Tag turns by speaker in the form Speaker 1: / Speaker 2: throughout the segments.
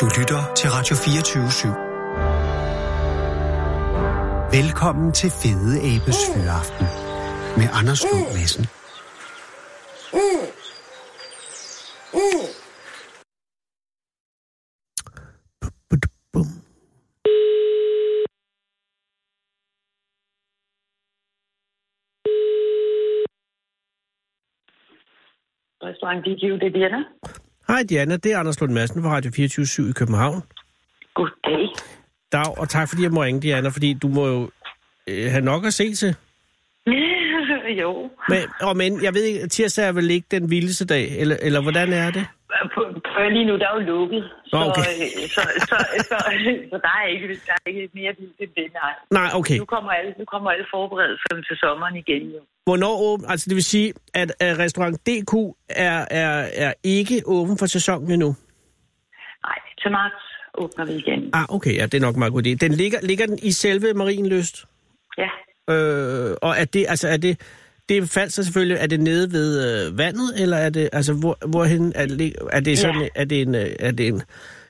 Speaker 1: Du lytter til Radio 24 /7. Velkommen til Fede Abes Fyraften med Anders Lund Madsen.
Speaker 2: Restaurant DQ, det er Diana.
Speaker 3: Hej Diana, det er Anders Lund Madsen fra Radio 24 i København.
Speaker 2: Goddag.
Speaker 3: Dag, og tak fordi jeg må ringe, Diana, fordi du må jo øh, have nok at se til.
Speaker 2: jo.
Speaker 3: Men, og men, jeg ved ikke, tirsdag er vel ikke den vildeste dag, eller, eller hvordan er det?
Speaker 2: På, på, lige nu, der er jo lukket.
Speaker 3: Nå, Oh, okay.
Speaker 2: så, øh, så, så, så, så, så, der er ikke, der er ikke mere vildt end det, nej.
Speaker 3: Nej, okay.
Speaker 2: Nu kommer alle, nu kommer alle forberedelserne til sommeren igen, jo.
Speaker 3: Hvornår åben? Altså det vil sige, at, at restaurant DQ er, er, er ikke åben for sæsonen endnu.
Speaker 2: Nej, til marts åbner vi igen.
Speaker 3: Ah, okay, ja, det er nok en meget god idé. Den ligger, ligger den i selve Marienløst?
Speaker 2: Ja,
Speaker 3: Øh, og er det, altså er det, det faldt så selvfølgelig, er det nede ved øh, vandet, eller er det, altså hvor, hvorhen, er det, er det sådan,
Speaker 2: Ja.
Speaker 3: ja. er det en, øh, er det en,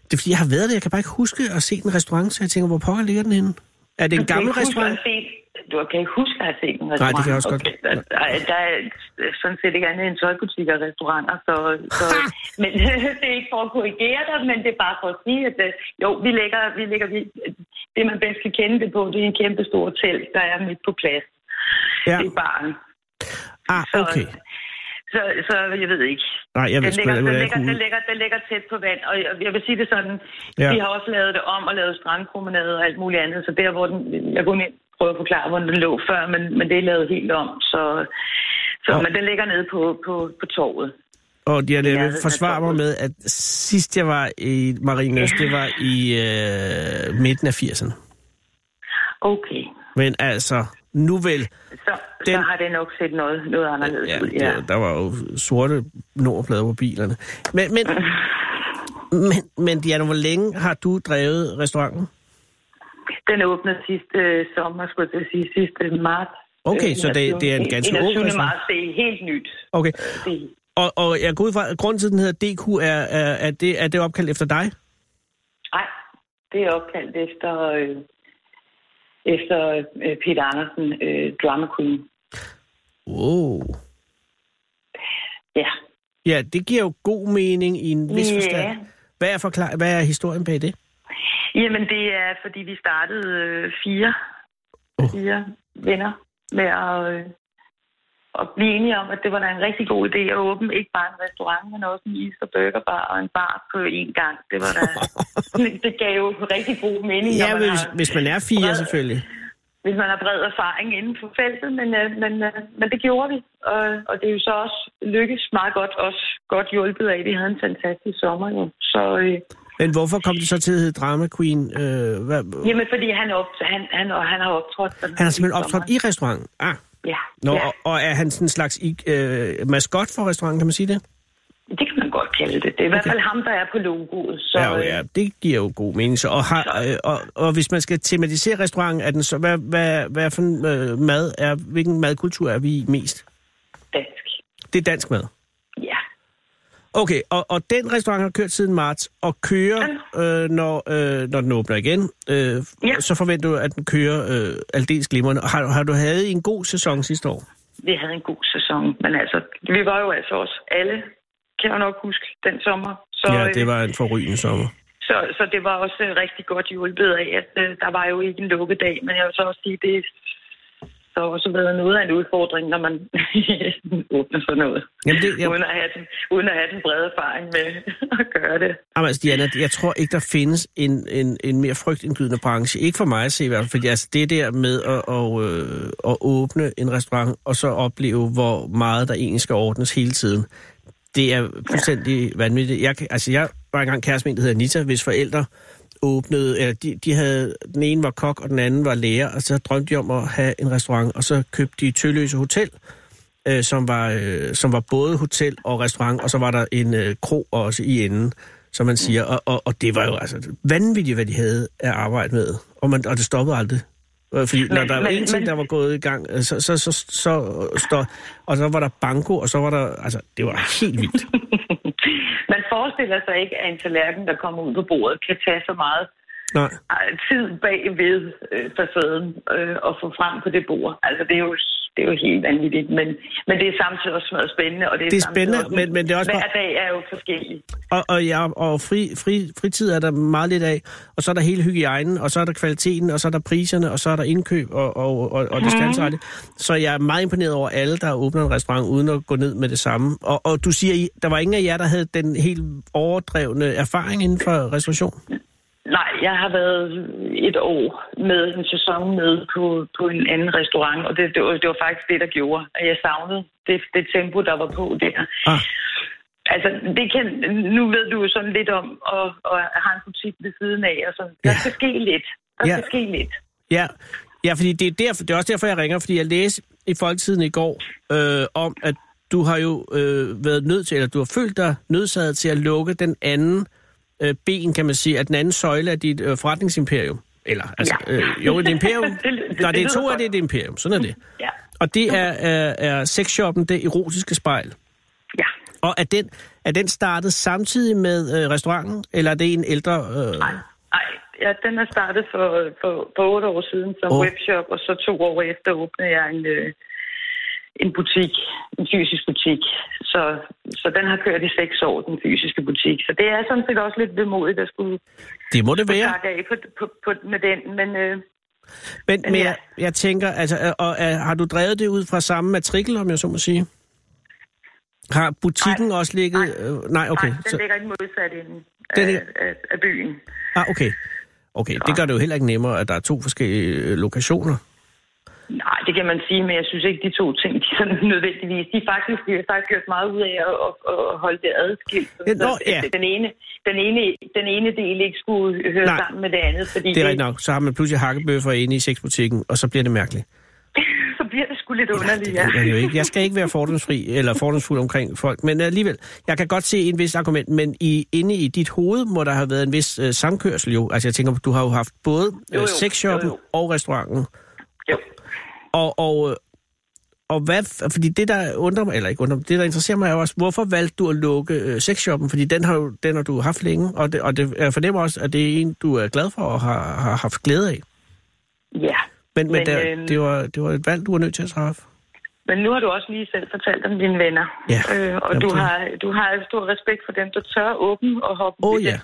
Speaker 3: det er fordi, jeg har været der, jeg kan bare ikke huske at se den restaurant, så jeg tænker, hvor pokker ligger den henne? Er det en gammel
Speaker 2: Du kan ikke huske
Speaker 3: restaurant?
Speaker 2: at have set- Du kan ikke huske at have set en restaurant.
Speaker 3: det kan jeg også godt.
Speaker 2: Okay. Der, der, er- der er sådan set ikke andet end tøjbutikker og restauranter, så, så men det er ikke for at korrigere dig, men det er bare for at sige, at øh, jo, vi lægger, vi lægger vi, det man bedst kan kende det på, det er en kæmpe stor telt, der er midt på plads.
Speaker 3: Ja,
Speaker 2: Det er baren.
Speaker 3: ah,
Speaker 2: Så,
Speaker 3: okay.
Speaker 2: så, så, jeg ved ikke.
Speaker 3: Nej, jeg ved
Speaker 2: Den
Speaker 3: sgu
Speaker 2: ligger,
Speaker 3: ikke,
Speaker 2: den,
Speaker 3: hvordan jeg
Speaker 2: ligger,
Speaker 3: kunne
Speaker 2: den, ligger, den ligger tæt på vand, og jeg- jeg vil sige det sådan,
Speaker 3: Ja.
Speaker 2: ja. de har også lavet det om og lavet strandpromenade og alt muligt andet, så der hvor den, jeg kunne ikke prøve at forklare, hvor den lå før, men, men det er lavet helt om, så, så
Speaker 3: Og-
Speaker 2: men den ligger nede på, på, på torvet.
Speaker 3: Og Diana, jeg
Speaker 2: Ja,
Speaker 3: vil
Speaker 2: den er
Speaker 3: forsvare mig
Speaker 2: dårlig.
Speaker 3: med, at sidst jeg var i Marienløst, det var i øh, midten af 80'erne.
Speaker 2: Okay,
Speaker 3: Men altså, nu vel,
Speaker 2: så, den... så
Speaker 3: Den-
Speaker 2: har det nok set noget, noget anderledes
Speaker 3: Ja,
Speaker 2: ud,
Speaker 3: det,
Speaker 2: ja.
Speaker 3: var- der var jo sorte nummerplader på bilerne. Men, men, men, men Diana, hvor længe har du drevet restauranten?
Speaker 2: Den åbnede sidste øh, sommer, skulle jeg til at sige, sidste marts.
Speaker 3: Okay,
Speaker 2: Øh,
Speaker 3: så det- det er en ganske ung
Speaker 2: 21.
Speaker 3: restaurant.
Speaker 2: marts, det er helt nyt.
Speaker 3: Okay,
Speaker 2: Det er
Speaker 3: og, og jeg går ud fra, at grunden til, at den hedder DQ, er, er, er, det, er det opkaldt efter dig?
Speaker 2: Nej, det er opkaldt efter, øh, efter øh, Peter Andersen, øh, drama queen.
Speaker 3: Wow.
Speaker 2: Ja.
Speaker 3: Ja, det giver jo god mening i en vis
Speaker 2: Ja.
Speaker 3: forstand. Hvad er, forklar- hvad er historien bag det?
Speaker 2: Jamen, det er, fordi vi startede øh, fire,
Speaker 3: Oh.
Speaker 2: oh. fire venner med at, øh, at blive enige om, at det var da en rigtig god idé at åbne ikke bare en restaurant, men også en is- og burgerbar og en bar på én gang. Det var da, det gav jo rigtig god mening, når
Speaker 3: Ja,
Speaker 2: man
Speaker 3: hvis,
Speaker 2: har-
Speaker 3: hvis man er fire,
Speaker 2: bred-
Speaker 3: selvfølgelig.
Speaker 2: hvis man har bred erfaring inden for feltet, men, øh, men, øh, men det gjorde vi. Og, og det er jo så også lykkedes meget godt, også godt hjulpet af, at vi havde en fantastisk sommer jo. Så, øh,
Speaker 3: Men hvorfor kom det så til at hedde Drama Queen? Øh, hvad,
Speaker 2: jamen, fordi han, op, han, han, og han har optrådt. sådan
Speaker 3: han har simpelthen
Speaker 2: sommeren.
Speaker 3: optrådt i restauranten. Ah,
Speaker 2: Ja,
Speaker 3: Nå,
Speaker 2: ja,
Speaker 3: og, og er han sådan en slags øh, maskot for restauranten, kan man sige det?
Speaker 2: det kan man godt kalde det. Det er i hvert fald ham, der er på logoet. Så, øh,
Speaker 3: Ja, jo, ja, det giver jo god mening. Så, og, har, øh, og, og hvis man skal tematisere restauranten, er den så, hvad, hvad, hvad for en øh, mad er, hvilken madkultur er vi i mest?
Speaker 2: øh, dansk.
Speaker 3: Det er dansk mad.
Speaker 2: Ja.
Speaker 3: Okay, og, og den restaurant har kørt siden marts, og kører, øh, når, øh, når den åbner igen, øh,
Speaker 2: Ja.
Speaker 3: så forventer du, at den kører øh, aldeles glimrende. Og Har, har du havde en god sæson sidste år?
Speaker 2: vi havde en god sæson, men altså, vi var jo altså også alle, kan jeg nok huske, den sommer. Så,
Speaker 3: ja,
Speaker 2: øh,
Speaker 3: det var en forrygende sommer.
Speaker 2: Så, så det var også øh, rigtig godt hjulpet af, at øh, der var jo ikke en lukkedag, men jeg vil så også sige, det så har også været noget af en udfordring, når man åbner for noget,
Speaker 3: Jamen, det, jeg,
Speaker 2: uden, at have den, uden at have den brede erfaring med at gøre det.
Speaker 3: Jamen, altså, Diana, jeg tror ikke, der findes en, en, en mere frygtindgydende branche. Ikke for mig at se i hvert fald, fordi altså, det der med at, og, øh, at åbne en restaurant og så opleve, hvor meget der egentlig skal ordnes hele tiden, det er fuldstændig vanvittigt. Jeg, kan- altså, jeg var engang kæreste med en, der hedder Anita, hvis forældre åbnede, eller de, de havde, den ene var kok, og den anden var lærer, og så drømte de om at have en restaurant, og så købte de Tølløse Hotel, øh, som, var, øh, som var både hotel og restaurant, og så var der en øh, kro også i enden, som
Speaker 2: Mm.
Speaker 3: man siger. Og, og, og det var jo altså vanvittigt, hvad de havde at arbejde med. Og, man, og det stoppede aldrig. Øh, Fordi når
Speaker 2: Men-
Speaker 3: der var
Speaker 2: men-
Speaker 3: en ting,
Speaker 2: men-
Speaker 3: der var gået i gang, øh, så, så, så, så, så, og så var der banko, og så var der... Altså, det var helt vildt.
Speaker 2: Man forestiller sig ikke, at en tallerken, der kommer ud på bordet, kan tage så meget
Speaker 3: Nej.
Speaker 2: øh, tid bagved øh, facaden øh, og få frem på det bord. Altså, det er jo, det er jo helt vanvittigt, men, men det er samtidig også meget spændende. Og det er,
Speaker 3: Det er
Speaker 2: samtidig
Speaker 3: spændende,
Speaker 2: også,
Speaker 3: men- men det er også
Speaker 2: Hver dag er jo forskellig.
Speaker 3: Og, og, ja, og fri, fri, fritid er der meget lidt af, og så er der hele hygiejnen, og så er der kvaliteten, og så er der priserne, og så er der indkøb og, og, og, og distancerette. Så jeg er meget imponeret over alle, der åbner en restaurant, uden at gå ned med det samme. Og, og du siger, I- der var ingen af jer, der havde den helt overdrevne erfaring inden for restauration?
Speaker 2: Nej, jeg har været et år med en sæson med på, på en anden restaurant, og det, det, var, det var faktisk det, der gjorde, at jeg savnede det, det tempo, der var på der.
Speaker 3: Ah,
Speaker 2: Altså, det kan, nu ved du jo sådan lidt om at, at have en butik ved siden af, og sådan. Der
Speaker 3: Ja.
Speaker 2: skal ske lidt. Der
Speaker 3: Ja.
Speaker 2: skal ske lidt.
Speaker 3: ja. ja, fordi det er, derfor, det er også derfor, jeg ringer, fordi jeg læste i Folketiden i går øh, om, at du har jo øh, været nødt til, eller du har følt dig nødsaget til at lukke den anden øh, ben, kan man sige, at den anden søjle af dit øh, forretningsimperium. Eller, altså,
Speaker 2: Ja.
Speaker 3: ja. øh, jo, et imperium.
Speaker 2: Det- det-
Speaker 3: Nej,
Speaker 2: det
Speaker 3: det er
Speaker 2: lyder
Speaker 3: to af
Speaker 2: godt.
Speaker 3: det, er et imperium. Sådan er det.
Speaker 2: Ja.
Speaker 3: Og det er, er, er sexshoppen, det erotiske spejl.
Speaker 2: Ja.
Speaker 3: Og er den, er den startet samtidig med øh, restauranten, eller er det en ældre... Øh...
Speaker 2: Ej, ja, den er startet for, for, for otte år siden som
Speaker 3: Åh.
Speaker 2: oh. webshop, og så to år efter åbnede jeg en, øh, en butik, en fysisk butik. Så, så den har kørt i seks år, den fysiske butik. Så det er sådan set også lidt vemodigt at skulle
Speaker 3: Det må det være.
Speaker 2: pakke af på, på, på, med den, men... Øh,
Speaker 3: Men, men
Speaker 2: ja.
Speaker 3: jeg, jeg tænker, altså, øh, og, øh, har du drevet det ud fra samme matrikel, om jeg så må sige? Har butikken nej, også ligget... Nej, øh, nej okay.
Speaker 2: Nej, den
Speaker 3: så,
Speaker 2: ligger i den modsatte ende
Speaker 3: Den
Speaker 2: af,
Speaker 3: ligger-
Speaker 2: af, af byen.
Speaker 3: ah, okay. Okay, det gør det jo heller ikke nemmere, at der er to forskellige øh, lokationer.
Speaker 2: Nej, det kan man sige, men jeg synes ikke, de to ting de er sådan nødvendigvis. De er faktisk, de har faktisk gjort meget ud af at, at, at holde det adskilt.
Speaker 3: Ja,
Speaker 2: Så
Speaker 3: nå,
Speaker 2: at
Speaker 3: ja.
Speaker 2: den, ene, den, ene, den ene del ikke skulle høre
Speaker 3: Nej.
Speaker 2: Nej. sammen med det andet, fordi
Speaker 3: Det er rigtigt nok. Så har man pludselig hakkebøffer inde i sexbutikken, og så bliver det mærkeligt.
Speaker 2: så bliver det sgu lidt underligt.
Speaker 3: Det ved jeg jo ikke. Jeg skal ikke være fordomsfri eller fordomsfuld omkring folk, men alligevel, jeg kan godt se en vis argument, men i, inde i dit hoved må der have været en vis øh, samkørsel jo. Altså jeg tænker, du har jo haft både
Speaker 2: Jo,
Speaker 3: øh,
Speaker 2: jo.
Speaker 3: sexshoppen
Speaker 2: Jo, jo.
Speaker 3: og restauranten.
Speaker 2: Jo.
Speaker 3: Og, og, øh, og hvad, fordi det der undrer mig, eller ikke undrer mig, det der interesserer mig er jo også, hvorfor valgte du at lukke øh, sexshoppen? Fordi den har, jo, den har du haft længe, og, det, og det, jeg fornemmer også, at det er en, du er glad for og har, har haft glæde af.
Speaker 2: Ja.
Speaker 3: Men, men, men
Speaker 2: Men,
Speaker 3: der,
Speaker 2: øhm,
Speaker 3: det, var, det var et valg, du var nødt til at træffe.
Speaker 2: Men nu har du også lige selv fortalt om dine venner.
Speaker 3: Ja.
Speaker 2: Øh, og
Speaker 3: Jamen,
Speaker 2: du
Speaker 3: det-
Speaker 2: har, du har stor respekt for dem, der tør åbne og hoppe
Speaker 3: Åh,
Speaker 2: ud i det.
Speaker 3: ja.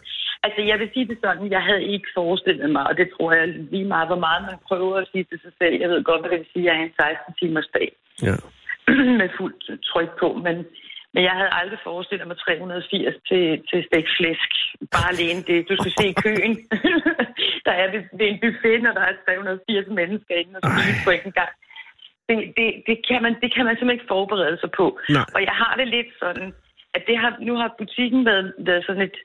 Speaker 2: Altså, jeg vil sige det sådan, jeg havde ikke forestillet mig, og det tror jeg lige meget, hvor meget man prøver at sige til sig selv. Jeg ved godt, hvad det vil sige, at jeg har en 16-timers dag
Speaker 3: Ja.
Speaker 2: med fuldt tryk på, men, men jeg havde aldrig forestillet mig 380 til, til stegt flæsk. Bare alene det. Du skal se køen. der er ved, ved en buffet, når der er 380 mennesker inde, og så
Speaker 3: Ej.
Speaker 2: på ikke engang. Det, det, det, kan man, det kan man simpelthen ikke forberede sig på.
Speaker 3: Nej.
Speaker 2: Og jeg har det lidt sådan, at det har, nu har butikken været, været sådan et,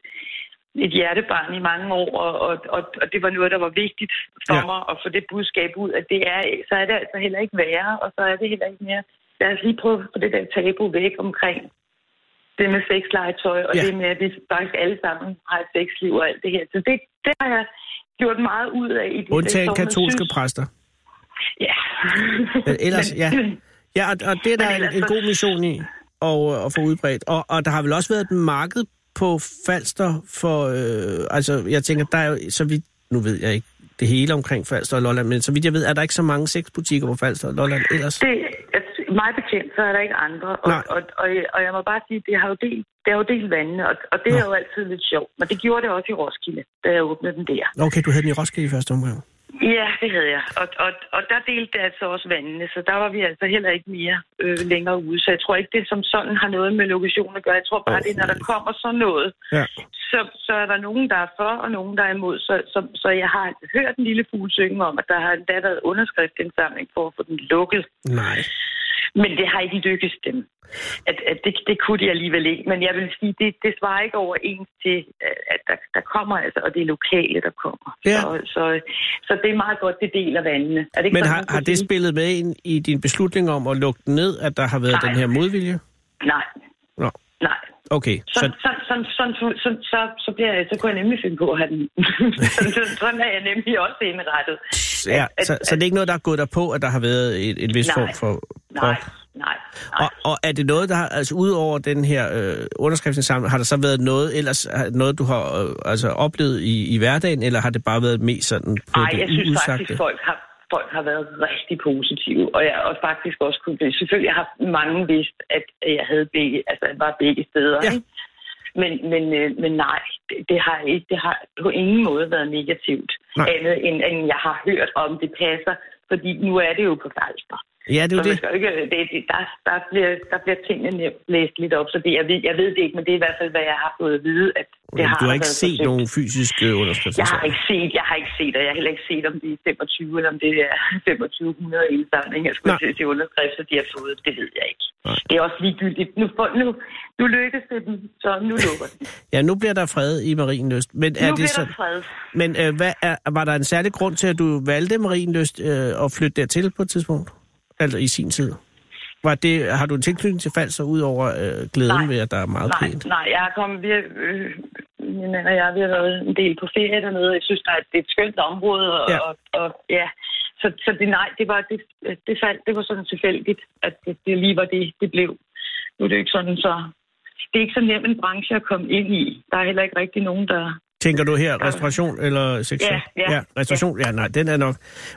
Speaker 2: et hjertebarn i mange år, og, og, og, og det var noget, der var vigtigt for
Speaker 3: Ja.
Speaker 2: ja. mig at få det budskab ud, at det er, så er det altså heller ikke værre, og så er det heller ikke mere. Lad os lige prøve at få det der tabu væk omkring det med sexlegetøj, og
Speaker 3: Ja.
Speaker 2: ja. det med, at vi faktisk alle sammen har et sexliv og alt det her. Så det, det har jeg gjort meget ud af i de seks
Speaker 3: Undtagen
Speaker 2: år, men
Speaker 3: katolske
Speaker 2: synes-
Speaker 3: præster.
Speaker 2: Ja.
Speaker 3: Men ellers, ja. Ja, og, og det er der
Speaker 2: ellers
Speaker 3: en, en
Speaker 2: så-
Speaker 3: god mission i og, øh, at få udbredt. Og, og der har vel også været et marked på Falster for... Øh, altså, jeg tænker, der er jo, så vidt... Nu ved jeg ikke det hele omkring Falster og Lolland, men så vidt jeg ved, er der ikke så mange sexbutikker på Falster og Lolland ellers.
Speaker 2: Det, altså, mig bekendt, så er der ikke andre. Og,
Speaker 3: Nej.
Speaker 2: og, og, og jeg må bare sige, det har jo delt, det har jo delt vandene, og, og det
Speaker 3: Nå.
Speaker 2: er jo altid lidt sjovt. Men det gjorde det også i Roskilde, da jeg åbnede den der.
Speaker 3: Okay, du havde den i Roskilde i første omgang.
Speaker 2: Ja, det havde jeg. Og, og, og der delte det altså også vandene, så der var vi altså heller ikke mere øh, længere ude. Så jeg tror ikke, det som sådan har noget med lokation at gøre. Jeg tror bare, det er, når der kommer sådan noget,
Speaker 3: Ja.
Speaker 2: så, så er der nogen, der er for, og nogen, der er imod. Så, så, så jeg har altså hørt en lille fugl synge om, at der har endda været underskriftindsamling for at få den lukket.
Speaker 3: Nej.
Speaker 2: Men det har ikke lykkes dem. At, at det, det kunne de alligevel ikke. Men jeg vil sige, det, det svarer ikke overens til, øh, at der, der kommer altså, og det er lokale, der kommer.
Speaker 3: Ja.
Speaker 2: Så, så, så det er meget godt, det deler vandene. Er det ikke
Speaker 3: Men
Speaker 2: sådan,
Speaker 3: har,
Speaker 2: man kan
Speaker 3: har det
Speaker 2: sige?
Speaker 3: spillet med ind i din beslutning om at lukke den ned, at der har været
Speaker 2: Nej.
Speaker 3: den her modvilje?
Speaker 2: Nej,
Speaker 3: Nå,
Speaker 2: nej.
Speaker 3: okay.
Speaker 2: Så, så,
Speaker 3: Så,
Speaker 2: så, så, så, så, så, så, så, bliver jeg, så kunne jeg nemlig finde på at have den. sådan, sådan- sådan er jeg nemlig også indrettet.
Speaker 3: ja, så, så det er ikke noget, der er gået dig på, at der har været en, en vis
Speaker 2: Nej.
Speaker 3: form for... for
Speaker 2: Nej, nej.
Speaker 3: Og, og er det noget, der har, altså udover den her øh, underskriftsindsamling, har der så været noget ellers, har- noget du har øh, altså, oplevet i, i hverdagen, eller har det bare været mest sådan på
Speaker 2: Nej,
Speaker 3: det
Speaker 2: jeg synes
Speaker 3: uudsagte?
Speaker 2: faktisk, folk har, folk har været rigtig positive, og jeg har faktisk også kunne blive. Selvfølgelig har mange vidst, at jeg havde begge, altså jeg var begge steder.
Speaker 3: Ja.
Speaker 2: Ja. Men, men, øh, men nej, det, det har ikke, det har på ingen måde været negativt.
Speaker 3: Nej.
Speaker 2: Nej. Andet end, end jeg har hørt om, det passer, fordi nu er det jo på Falster.
Speaker 3: Ja, det
Speaker 2: Så
Speaker 3: er jo
Speaker 2: man
Speaker 3: det.
Speaker 2: skal jo ikke, det, det, der, der, bliver, der bliver tingene nævnt- læst lidt op, så det, jeg, ved, jeg ved det ikke, men det er i hvert fald, hvad jeg har fået at vide, at det har
Speaker 3: Du har ikke
Speaker 2: været
Speaker 3: set
Speaker 2: forsøgt.
Speaker 3: nogen fysiske
Speaker 2: Jeg har
Speaker 3: underskriftsindsamling?
Speaker 2: ikke set, jeg har ikke set, og jeg har heller ikke set, om det er 25, eller om det er 2500 indsamling. Jeg skulle
Speaker 3: Nej.
Speaker 2: til at sige underskrifter, de har fået. Det ved jeg ikke.
Speaker 3: Nej.
Speaker 2: Det er også ligegyldigt. Nu, får, nu, nu lykkes det dem, så nu lukker den.
Speaker 3: Ja, nu bliver der fred i Marienløst. Men
Speaker 2: nu
Speaker 3: er det
Speaker 2: bliver
Speaker 3: så,
Speaker 2: der fred.
Speaker 3: men øh, hvad er, var der en særlig grund til, at du valgte Marienløst øh, at flytte dertil på et tidspunkt? Altså i sin tid? Var det, har du en tilknytning til Falster, ud over øh, glæden
Speaker 2: Nej.
Speaker 3: ved, at der er meget
Speaker 2: Nej,
Speaker 3: pænt?
Speaker 2: nej, jeg har kommet, vi har, øh, min mand og jeg, vi har været en del på ferie dernede. Jeg synes, at det er et skønt område, og
Speaker 3: Ja.
Speaker 2: ja. Og, og, ja. Så, så det, nej, det var, det, det, faldt, det var sådan tilfældigt, at det, det lige var det, det blev. Nu er det ikke sådan, så... Det er ikke så nem en branche at komme ind i. Der er heller ikke rigtig nogen, der...
Speaker 3: Tænker du her restauration eller sektion?
Speaker 2: Ja, ja.
Speaker 3: ja restauration, ja. nej, den er nok.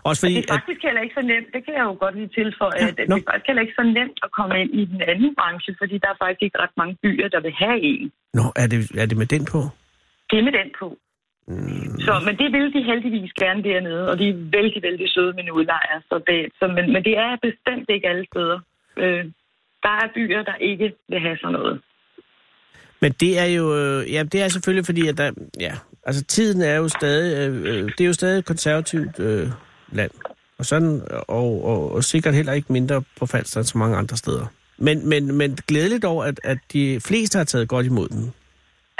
Speaker 3: Også fordi,
Speaker 2: Det er
Speaker 3: at,
Speaker 2: faktisk heller ikke så nemt, det kan jeg jo godt lige tilføje,
Speaker 3: Ja,
Speaker 2: ja, at
Speaker 3: nå.
Speaker 2: det er faktisk heller ikke så nemt at komme ind i den anden branche, fordi der er faktisk ikke ret mange byer, der vil have en.
Speaker 3: nå, er det, er det med den på?
Speaker 2: det med den på. Mm. Så, men det vil de heldigvis gerne dernede, og de er vældig, vældig søde med udlejere. Så det, så, men, men det er bestemt ikke alle steder. Øh, der er byer, der ikke vil have sådan noget.
Speaker 3: Men det er jo, øh, ja, det er selvfølgelig fordi, at der, ja, altså tiden er jo stadig, øh, øh, det er jo stadig et konservativt øh, land. Og sådan, og, og, og sikkert heller ikke mindre på Falster end så mange andre steder. Men, men, men glædeligt over, at, at de fleste har taget godt imod den.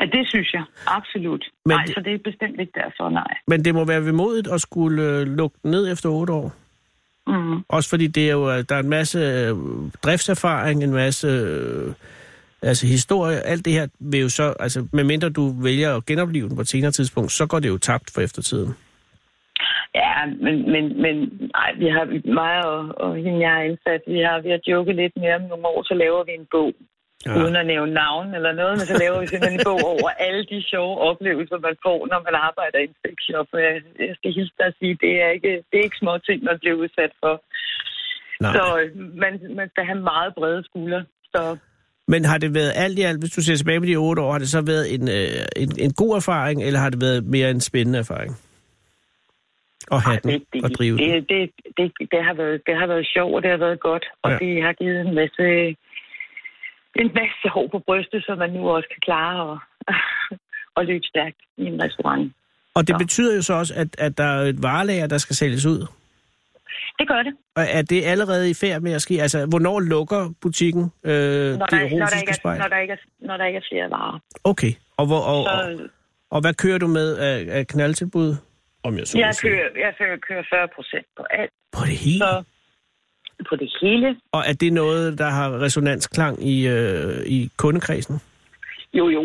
Speaker 2: Ja, det synes jeg, absolut.
Speaker 3: Men
Speaker 2: Men nej,
Speaker 3: det-
Speaker 2: så det er bestemt ikke derfor, nej.
Speaker 3: Men det må være vemodigt at skulle øh, lukke den ned efter otte år.
Speaker 2: Mm.
Speaker 3: Også fordi det er jo, øh, der er en masse øh, driftserfaring, en masse øh, altså historie. Alt det her vil jo så, altså medmindre du vælger at genopleve den på et senere tidspunkt, så går det jo tabt for eftertiden.
Speaker 2: Ja, men, men, men nej, vi har, mig og, og hende, jeg har ansat, vi har, vi har joket lidt mere om nogle år, så laver vi en bog. Ja. Uden at nævne navn eller noget, men så laver vi simpelthen en bog over alle de sjove oplevelser, man får, når man arbejder i en sexshop. Og Jeg, jeg skal hilse dig at sige, det er ikke, det er ikke små ting, man bliver udsat for.
Speaker 3: Nej.
Speaker 2: Så øh, man, man skal have meget brede skuldre. Så
Speaker 3: Men har det været alt i alt, hvis du ser tilbage på de otte år, har det så været en, øh, en, en god erfaring, eller har det været mere en spændende erfaring? At have
Speaker 2: ej,
Speaker 3: den
Speaker 2: det,
Speaker 3: og drive den.
Speaker 2: det, det, det, det, har været, det har været sjovt, og det har været godt, og
Speaker 3: Ja.
Speaker 2: ja. det har givet en masse, en masse hår på brystet, som man nu også kan klare og, og løbe stærkt i en restaurant.
Speaker 3: Og det
Speaker 2: Nå.
Speaker 3: betyder jo så også, at, at der er et varelager, der skal sælges ud.
Speaker 2: Det gør det.
Speaker 3: Og er det allerede i færd med at ske? Altså, hvornår lukker butikken øh, det
Speaker 2: Når der, når, der
Speaker 3: erotiske
Speaker 2: ikke er,
Speaker 3: spejl?
Speaker 2: når, der ikke er, når der ikke er flere varer.
Speaker 3: Okay. Og, hvor, og,
Speaker 2: Så,
Speaker 3: og, og hvad kører du med af, af knaldtilbud? Om jeg så må
Speaker 2: jeg,
Speaker 3: sige.
Speaker 2: kører, jeg kører, kører 40 procent på alt,
Speaker 3: På det hele.
Speaker 2: så på det hele.
Speaker 3: Og er det noget, der har resonansklang i, øh, i kundekredsen?
Speaker 2: Jo, jo.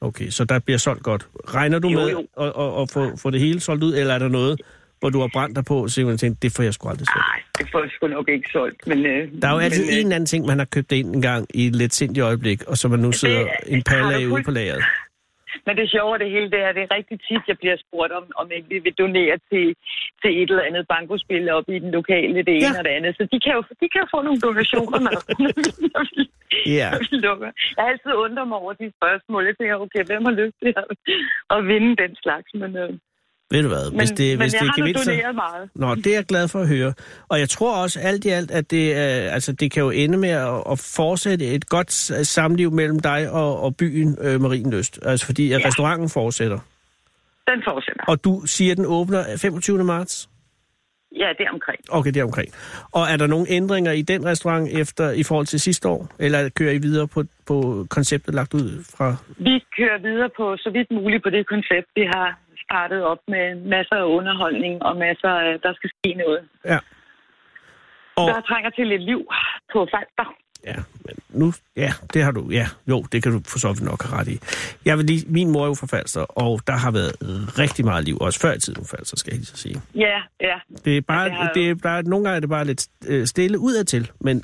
Speaker 3: Okay, så der bliver solgt godt. Regner du
Speaker 2: Jo,
Speaker 3: med
Speaker 2: jo.
Speaker 3: at, at, at få, få det hele solgt ud, eller er der noget, hvor du har brændt dig på, og simpelthen tænkt, det får jeg sgu aldrig solgt?
Speaker 2: Nej, det får jeg sgu nok ikke solgt. Men, øh,
Speaker 3: Der er jo altid
Speaker 2: men,
Speaker 3: en eller anden ting, man har købt ind en gang i et lidt sindigt øjeblik, og så man nu sidder
Speaker 2: det
Speaker 3: en palle
Speaker 2: har
Speaker 3: af
Speaker 2: du
Speaker 3: ude
Speaker 2: fuld-
Speaker 3: på lageret.
Speaker 2: Men det sjove af det hele, det er, at det er rigtig tit, jeg bliver spurgt om, om ikke vi vil donere til, til et eller andet bankospil op i den lokale, det ene
Speaker 3: Ja.
Speaker 2: og det andet. Så de kan jo, de kan jo få nogle donationer, når, når, vi, når, vi,
Speaker 3: Ja.
Speaker 2: når vi lukker. Jeg har altid undret mig over de spørgsmål. Jeg tænker, okay, hvem har lyst til at, at vinde den slags? Men, øh,
Speaker 3: Ved du hvad,
Speaker 2: men,
Speaker 3: hvis det,
Speaker 2: men
Speaker 3: hvis
Speaker 2: jeg
Speaker 3: det er
Speaker 2: har nu
Speaker 3: gevinster...
Speaker 2: doneret meget.
Speaker 3: Nå, det er jeg glad for at høre. Og jeg tror også alt i alt, at det, øh, altså, det kan jo ende med at, at fortsætte et godt s- samliv mellem dig og, og byen øh, Marienløst. Altså fordi at ja. restauranten fortsætter.
Speaker 2: Den fortsætter.
Speaker 3: Og du siger, at den åbner 25. marts?
Speaker 2: Ja, det er omkring.
Speaker 3: Okay, det er omkring. Og er der nogle ændringer i den restaurant efter i forhold til sidste år? Eller kører I videre på, på konceptet lagt ud fra...
Speaker 2: Vi kører videre på så vidt muligt på det koncept, vi har startet op med masser af underholdning og masser af, der skal ske noget.
Speaker 3: Ja. Og,
Speaker 2: Der trænger til lidt liv på Falster.
Speaker 3: Ja, men nu, ja, det har du, ja, jo, det kan du for så vidt nok have ret i. Jeg vil lige, min mor er jo fra Falster, og der har været rigtig meget liv, også før i tiden på Falster, skal jeg lige så sige.
Speaker 2: Ja, ja.
Speaker 3: Det er bare,
Speaker 2: Ja, det har
Speaker 3: det er bare, nogle gange er det bare lidt øh, stille udadtil, men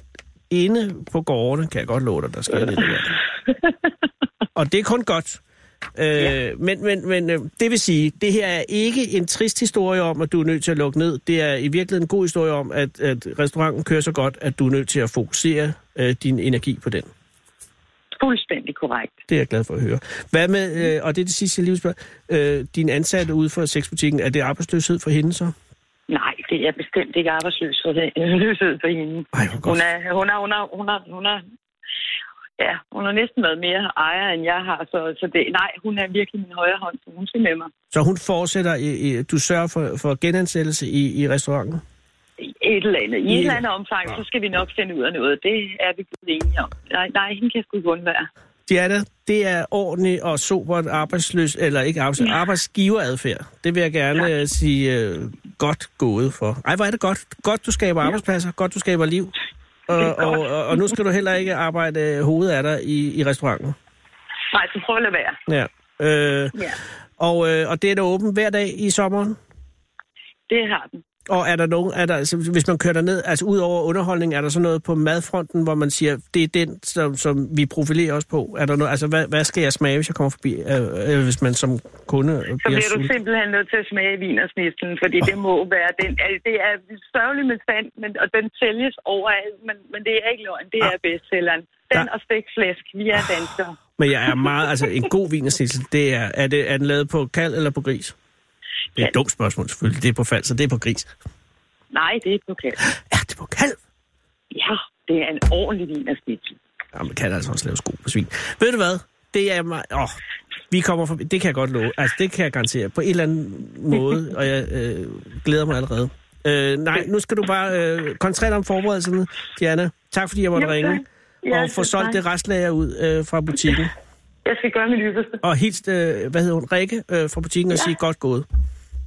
Speaker 3: inde på gårdene, kan jeg godt love dig, der sker lidt af hvert. Og det er kun godt. Øh, ja. Men, men, men øh, det vil sige, det her er ikke en trist historie om, at du er nødt til at lukke ned. Det er i virkeligheden en god historie om, at, at restauranten kører så godt, at du er nødt til at fokusere øh, din energi på den.
Speaker 2: Fuldstændig korrekt.
Speaker 3: Det er jeg glad for at høre. Hvad med, øh, og det er det sidste, jeg lige vil spørge, øh, din ansatte ude for sexbutikken, er det arbejdsløshed for hende så?
Speaker 2: Nej, det er bestemt ikke arbejdsløshed for hende.
Speaker 3: Ej, hvor godt.
Speaker 2: Hun er, hun er, hun er, hun er, hun er, ja, hun har næsten været mere ejer, end jeg har, så, så det, nej, hun er virkelig min højre hånd, så hun skal med mig.
Speaker 3: Så hun fortsætter, i, i, du sørger for, for genansættelse i, i restauranten?
Speaker 2: Et eller andet. I
Speaker 3: Ja.
Speaker 2: et eller andet omfang, så skal vi nok finde ud af noget. Det er vi blevet enige om. Nej, nej, hende kan jeg sgu ikke undvære.
Speaker 3: Diana, det er ordentlig og sobert arbejdsløs, eller ikke arbejdsløs, ja. arbejdsgiveradfærd. Det vil jeg gerne ja. sige øh, godt gået for. Ej, hvor er det godt. Godt, du skaber ja. arbejdspladser. Godt, du skaber liv. Og, og, og, og nu skal du heller ikke arbejde øh, hovedet af dig i, i restauranten.
Speaker 2: Nej, så prøv at lade være.
Speaker 3: Ja. Øh,
Speaker 2: Ja,
Speaker 3: og, øh, og det er da åbent hver dag i sommeren?
Speaker 2: det har den.
Speaker 3: Og er der nogen, er der, altså, hvis man kører derned, altså ud over underholdning, er der så noget på madfronten, hvor man siger, det er den, som, som vi profilerer os på? Er der noget, altså, hvad, hvad skal jeg smage, hvis jeg kommer forbi, øh, øh, hvis man som kunde øh,
Speaker 2: Så
Speaker 3: bliver
Speaker 2: bliver du
Speaker 3: sulten?
Speaker 2: simpelthen nødt til at smage vinersnistlen, fordi det må være den. Altså, det er sørgeligt med sand, men, og den sælges overalt, men, men det er ikke løgn. Det er bestselleren. Den
Speaker 3: Der-
Speaker 2: og stegt flæsk. Vi er danskere.
Speaker 3: Men jeg er meget, altså en god vinersnitsel, det er, er, det, er den lavet på kald eller på gris? Det er et dumt spørgsmål selvfølgelig, det er på fald, så det er på gris.
Speaker 2: Nej, det er ikke lokalt.
Speaker 3: Ja, det er på kald.
Speaker 2: Ja, det er en ordentlig vinersnitzel.
Speaker 3: Ja, man kan altså også lave sko på svin. Ved du hvad? Det er mig... Åh, vi kommer forbi. Det kan jeg godt love. Altså, det kan jeg garantere. På en eller anden måde, og jeg øh, glæder mig allerede. Øh, nej, nu skal du bare øh, koncentrere dig om forberedelserne, Diana. Tak fordi jeg måtte
Speaker 2: Ja,
Speaker 3: ringe.
Speaker 2: tak. Ja,
Speaker 3: og få
Speaker 2: selv
Speaker 3: solgt
Speaker 2: tak.
Speaker 3: det restlager ud øh, fra butikken.
Speaker 2: Jeg skal gøre mit ypperste.
Speaker 3: Og helt, øh, hvad hedder hun, Rikke øh, fra butikken og sige godt gået.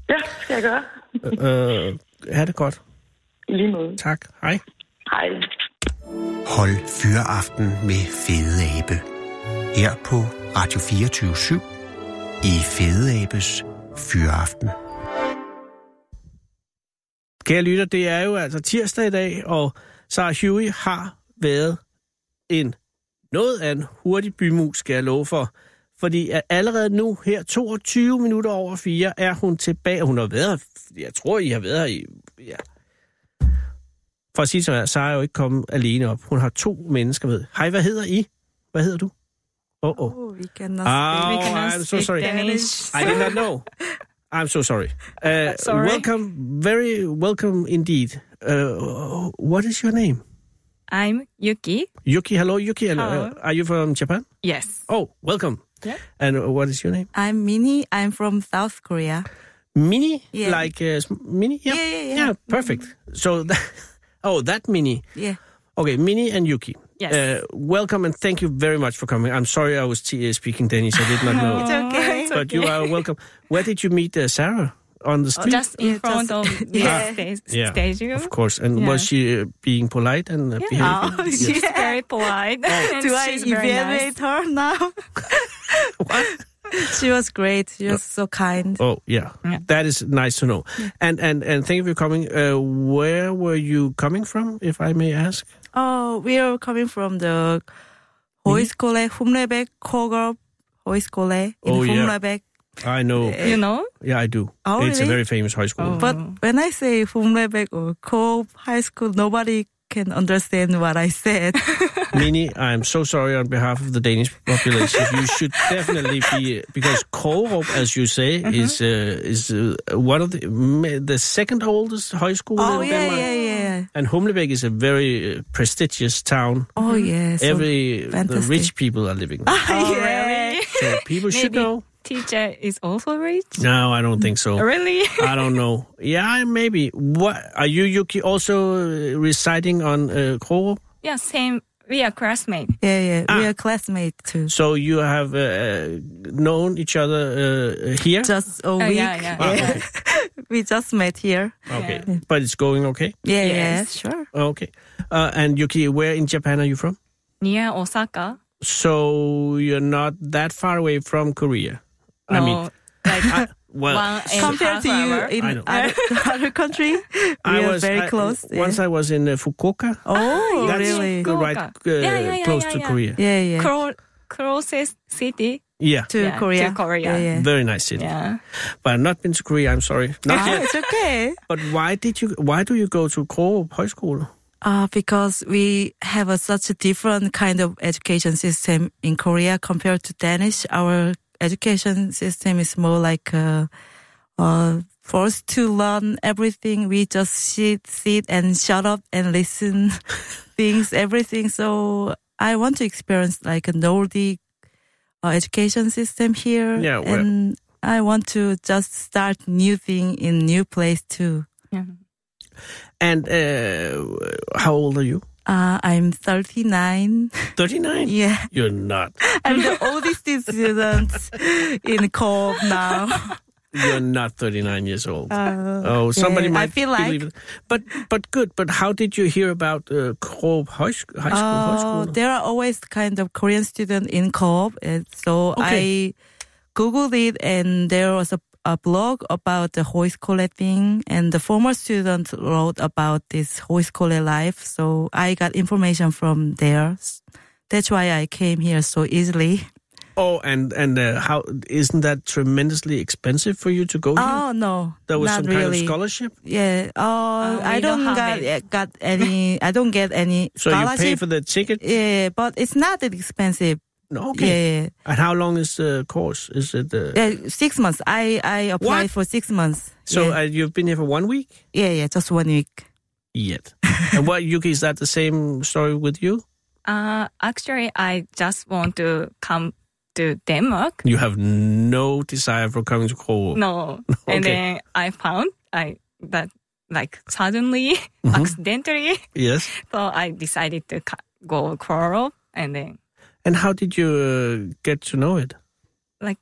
Speaker 2: Ja, skal jeg gøre.
Speaker 3: Øh, ha' det godt.
Speaker 2: I lige måde.
Speaker 3: Tak. Hej.
Speaker 2: Hej.
Speaker 1: Hold Fyraften med Fede Abe. Her på Radio 24 i Fede Abes Fyraften.
Speaker 3: Kære lytter, det er jo altså tirsdag i dag, og Sarah Huey har været en noget af en hurtig bymus, skal jeg love for. Fordi at allerede nu, her 22 minutter over 4, er hun tilbage. Hun har været her, jeg tror, I har været her i... Ja. For at sige så, Sarah er jo ikke kommet alene op. Hun har to mennesker med. Hej, hvad hedder I? Hvad hedder du? Åh, oh, åh. Oh.
Speaker 4: Oh, we cannot
Speaker 3: Oh,
Speaker 4: speak, we cannot
Speaker 3: I'm so
Speaker 4: speak
Speaker 3: sorry.
Speaker 4: Danish.
Speaker 3: I did not know. I'm so sorry. Uh,
Speaker 4: Sorry.
Speaker 3: Welcome, very welcome indeed. Uh, what is your name?
Speaker 4: I'm Yuki.
Speaker 3: Yuki, hello, Yuki. Hello. Uh,
Speaker 4: Hello.
Speaker 3: Are you from Japan?
Speaker 4: Yes.
Speaker 3: Oh, welcome.
Speaker 4: Yeah.
Speaker 3: And uh, what is your name?
Speaker 4: I'm Mini. I'm from South Korea.
Speaker 3: Mini,
Speaker 4: Yeah.
Speaker 3: like uh, sm- mini.
Speaker 4: Yeah, yeah, yeah.
Speaker 3: perfect. So, that, oh, that mini.
Speaker 4: Yeah.
Speaker 3: Okay, Mini and Yuki.
Speaker 4: Yes.
Speaker 3: Uh, welcome and thank you very much for coming. I'm sorry I was t- uh, speaking Danish. I did not know.
Speaker 4: It's okay.
Speaker 3: but you are welcome. Where did you meet uh, Sarah on the street?
Speaker 5: just in
Speaker 4: Yeah,
Speaker 5: front
Speaker 4: just-
Speaker 5: of the
Speaker 4: Yeah.
Speaker 5: stage,
Speaker 3: Yeah,
Speaker 5: stage room.
Speaker 3: Of course. And was
Speaker 5: Yeah.
Speaker 3: she uh, being polite and uh, behaving?
Speaker 4: Oh,
Speaker 5: She's
Speaker 4: yeah. Oh,
Speaker 5: very polite. and
Speaker 4: Do I
Speaker 5: she's very nice.
Speaker 4: evaluate her now? she was great. She was so kind.
Speaker 3: Oh, yeah.
Speaker 5: Yeah.
Speaker 3: That is nice to know. And and and thank you for coming. Uh, where were you coming from, if I may ask?
Speaker 4: Oh, we are coming from the Mm-hmm. Hoiskole, Humlebek, Kogor Hoiskole in
Speaker 3: Oh, yeah.
Speaker 4: Humlebek.
Speaker 3: I know.
Speaker 4: Uh,
Speaker 5: You know?
Speaker 3: Yeah, I do.
Speaker 4: Oh,
Speaker 3: it's a
Speaker 4: really?
Speaker 3: very famous high school.
Speaker 5: Oh.
Speaker 4: But when I say Humlebek or Ko High School, nobody can understand what I said.
Speaker 3: Mini, I'm so sorry on behalf of the Danish population. you should definitely be because Korup, as you say,
Speaker 4: Mm-hmm.
Speaker 3: is uh, is uh, one of the ma- the second oldest high school
Speaker 4: oh,
Speaker 3: in
Speaker 4: yeah,
Speaker 3: Denmark.
Speaker 4: yeah, yeah.
Speaker 3: And Humlebæk is a very uh, prestigious town.
Speaker 4: Oh, yeah. So
Speaker 3: Every the
Speaker 4: fantastic.
Speaker 3: rich people are living. there.
Speaker 5: Oh,
Speaker 4: yeah.
Speaker 5: really?
Speaker 3: So people should
Speaker 5: Maybe.
Speaker 3: know.
Speaker 5: Teacher is also rich?
Speaker 3: No, I don't think so.
Speaker 5: Really?
Speaker 3: I don't know. Yeah, maybe. What are you, Yuki? Also uh, reciting on uh, Koro?
Speaker 5: yeah, same. We are classmates.
Speaker 4: Yeah, yeah. We
Speaker 3: Ah.
Speaker 4: are classmates too.
Speaker 3: So you have uh, uh, known each other uh, here.
Speaker 4: Just a
Speaker 5: Oh,
Speaker 4: week.
Speaker 5: yeah, yeah.
Speaker 3: Ah,
Speaker 5: yeah.
Speaker 3: okay.
Speaker 4: We just met here.
Speaker 3: okay, but it's going okay.
Speaker 4: Yeah,
Speaker 5: Yes.
Speaker 4: yeah, sure.
Speaker 3: Okay, uh, and Yuki, where in Japan are you from?
Speaker 5: Near Osaka.
Speaker 3: So you're not that far away from Korea.
Speaker 5: No,
Speaker 3: I mean,
Speaker 5: like
Speaker 3: well,
Speaker 5: One and
Speaker 4: uh, Compared
Speaker 5: half
Speaker 4: to you
Speaker 5: hour.
Speaker 3: I
Speaker 4: in
Speaker 3: know.
Speaker 4: other, other country, we
Speaker 3: I
Speaker 4: are
Speaker 3: was
Speaker 4: very
Speaker 3: I-
Speaker 4: close.
Speaker 3: Once
Speaker 4: yeah.
Speaker 3: I was in uh, Fukuoka,
Speaker 4: oh,
Speaker 3: that's
Speaker 4: really?
Speaker 3: the right uh,
Speaker 5: Fukuoka. Yeah, yeah, yeah,
Speaker 3: close
Speaker 5: yeah,
Speaker 3: to
Speaker 5: yeah.
Speaker 3: Korea.
Speaker 4: Yeah, yeah.
Speaker 5: Clo- closest city.
Speaker 3: Yeah,
Speaker 4: to
Speaker 5: Yeah, to
Speaker 4: Korea.
Speaker 5: Korea.
Speaker 4: Yeah, yeah.
Speaker 3: very nice city.
Speaker 5: Yeah.
Speaker 3: But I've not been to Korea. I'm sorry. Not
Speaker 4: Ah,
Speaker 3: yet.
Speaker 4: it's okay.
Speaker 3: But why did you? Why do you go to Krogerup Højskole?
Speaker 4: Uh, because we have a, such a different kind of education system in Korea compared to Danish. Our education system is more like uh, uh, forced to learn everything. We just sit, sit and shut up and listen things, everything. So I want to experience like a Nordic uh, education system here.
Speaker 3: Yeah, well-
Speaker 4: and I want to just start new thing in new place too.
Speaker 5: yeah.
Speaker 3: And uh, how old are you?
Speaker 4: Uh, I'm 39.
Speaker 3: Thirty nine.
Speaker 4: yeah.
Speaker 3: You're not.
Speaker 4: I'm the oldest student in co now.
Speaker 3: You're not thirty nine years old.
Speaker 4: Uh,
Speaker 3: oh, somebody
Speaker 4: yeah,
Speaker 3: might
Speaker 4: I feel like-
Speaker 3: believe it. But but good. But how did you hear about uh, Krogerup Højskole?
Speaker 4: uh, there are always kind of Korean student in co-op, and so
Speaker 3: Okay.
Speaker 4: I googled it, and there was a, a blog about the hoiskole thing, and the former student wrote about this hoiskole life. So I got information from there. That's why I came here so easily.
Speaker 3: Oh, and and uh, how isn't that tremendously expensive for you to go here?
Speaker 4: Oh no,
Speaker 3: There was some
Speaker 4: not really.
Speaker 3: kind of Oh, scholarship,
Speaker 4: Yeah. Uh, I
Speaker 5: we don't
Speaker 4: don't,
Speaker 5: have
Speaker 4: got eh,
Speaker 5: it.
Speaker 4: got any. I don't get any
Speaker 3: so you
Speaker 4: scholarship.
Speaker 3: pay for the ticket.
Speaker 4: yeah, but it's not that expensive.
Speaker 3: No, okay.
Speaker 4: Yeah,
Speaker 3: And how long is the course? Is it? Uh,
Speaker 4: yeah, Yeah, six months. I I
Speaker 3: What?
Speaker 4: applied for six months.
Speaker 3: So
Speaker 4: yeah.
Speaker 3: uh, you've been here for one week
Speaker 4: yeah, yeah, just one week.
Speaker 3: yet. and what Yuki is that the same story with you?
Speaker 5: Uh, actually, I just want to come to Denmark.
Speaker 3: You have no desire for coming to Korea.
Speaker 5: No,
Speaker 3: Okay.
Speaker 5: and then I found I that like suddenly,
Speaker 3: Mm-hmm.
Speaker 5: accidentally.
Speaker 3: Yes.
Speaker 5: So I decided to co- go Korea, and then
Speaker 3: And how did you uh, get to know it?
Speaker 5: like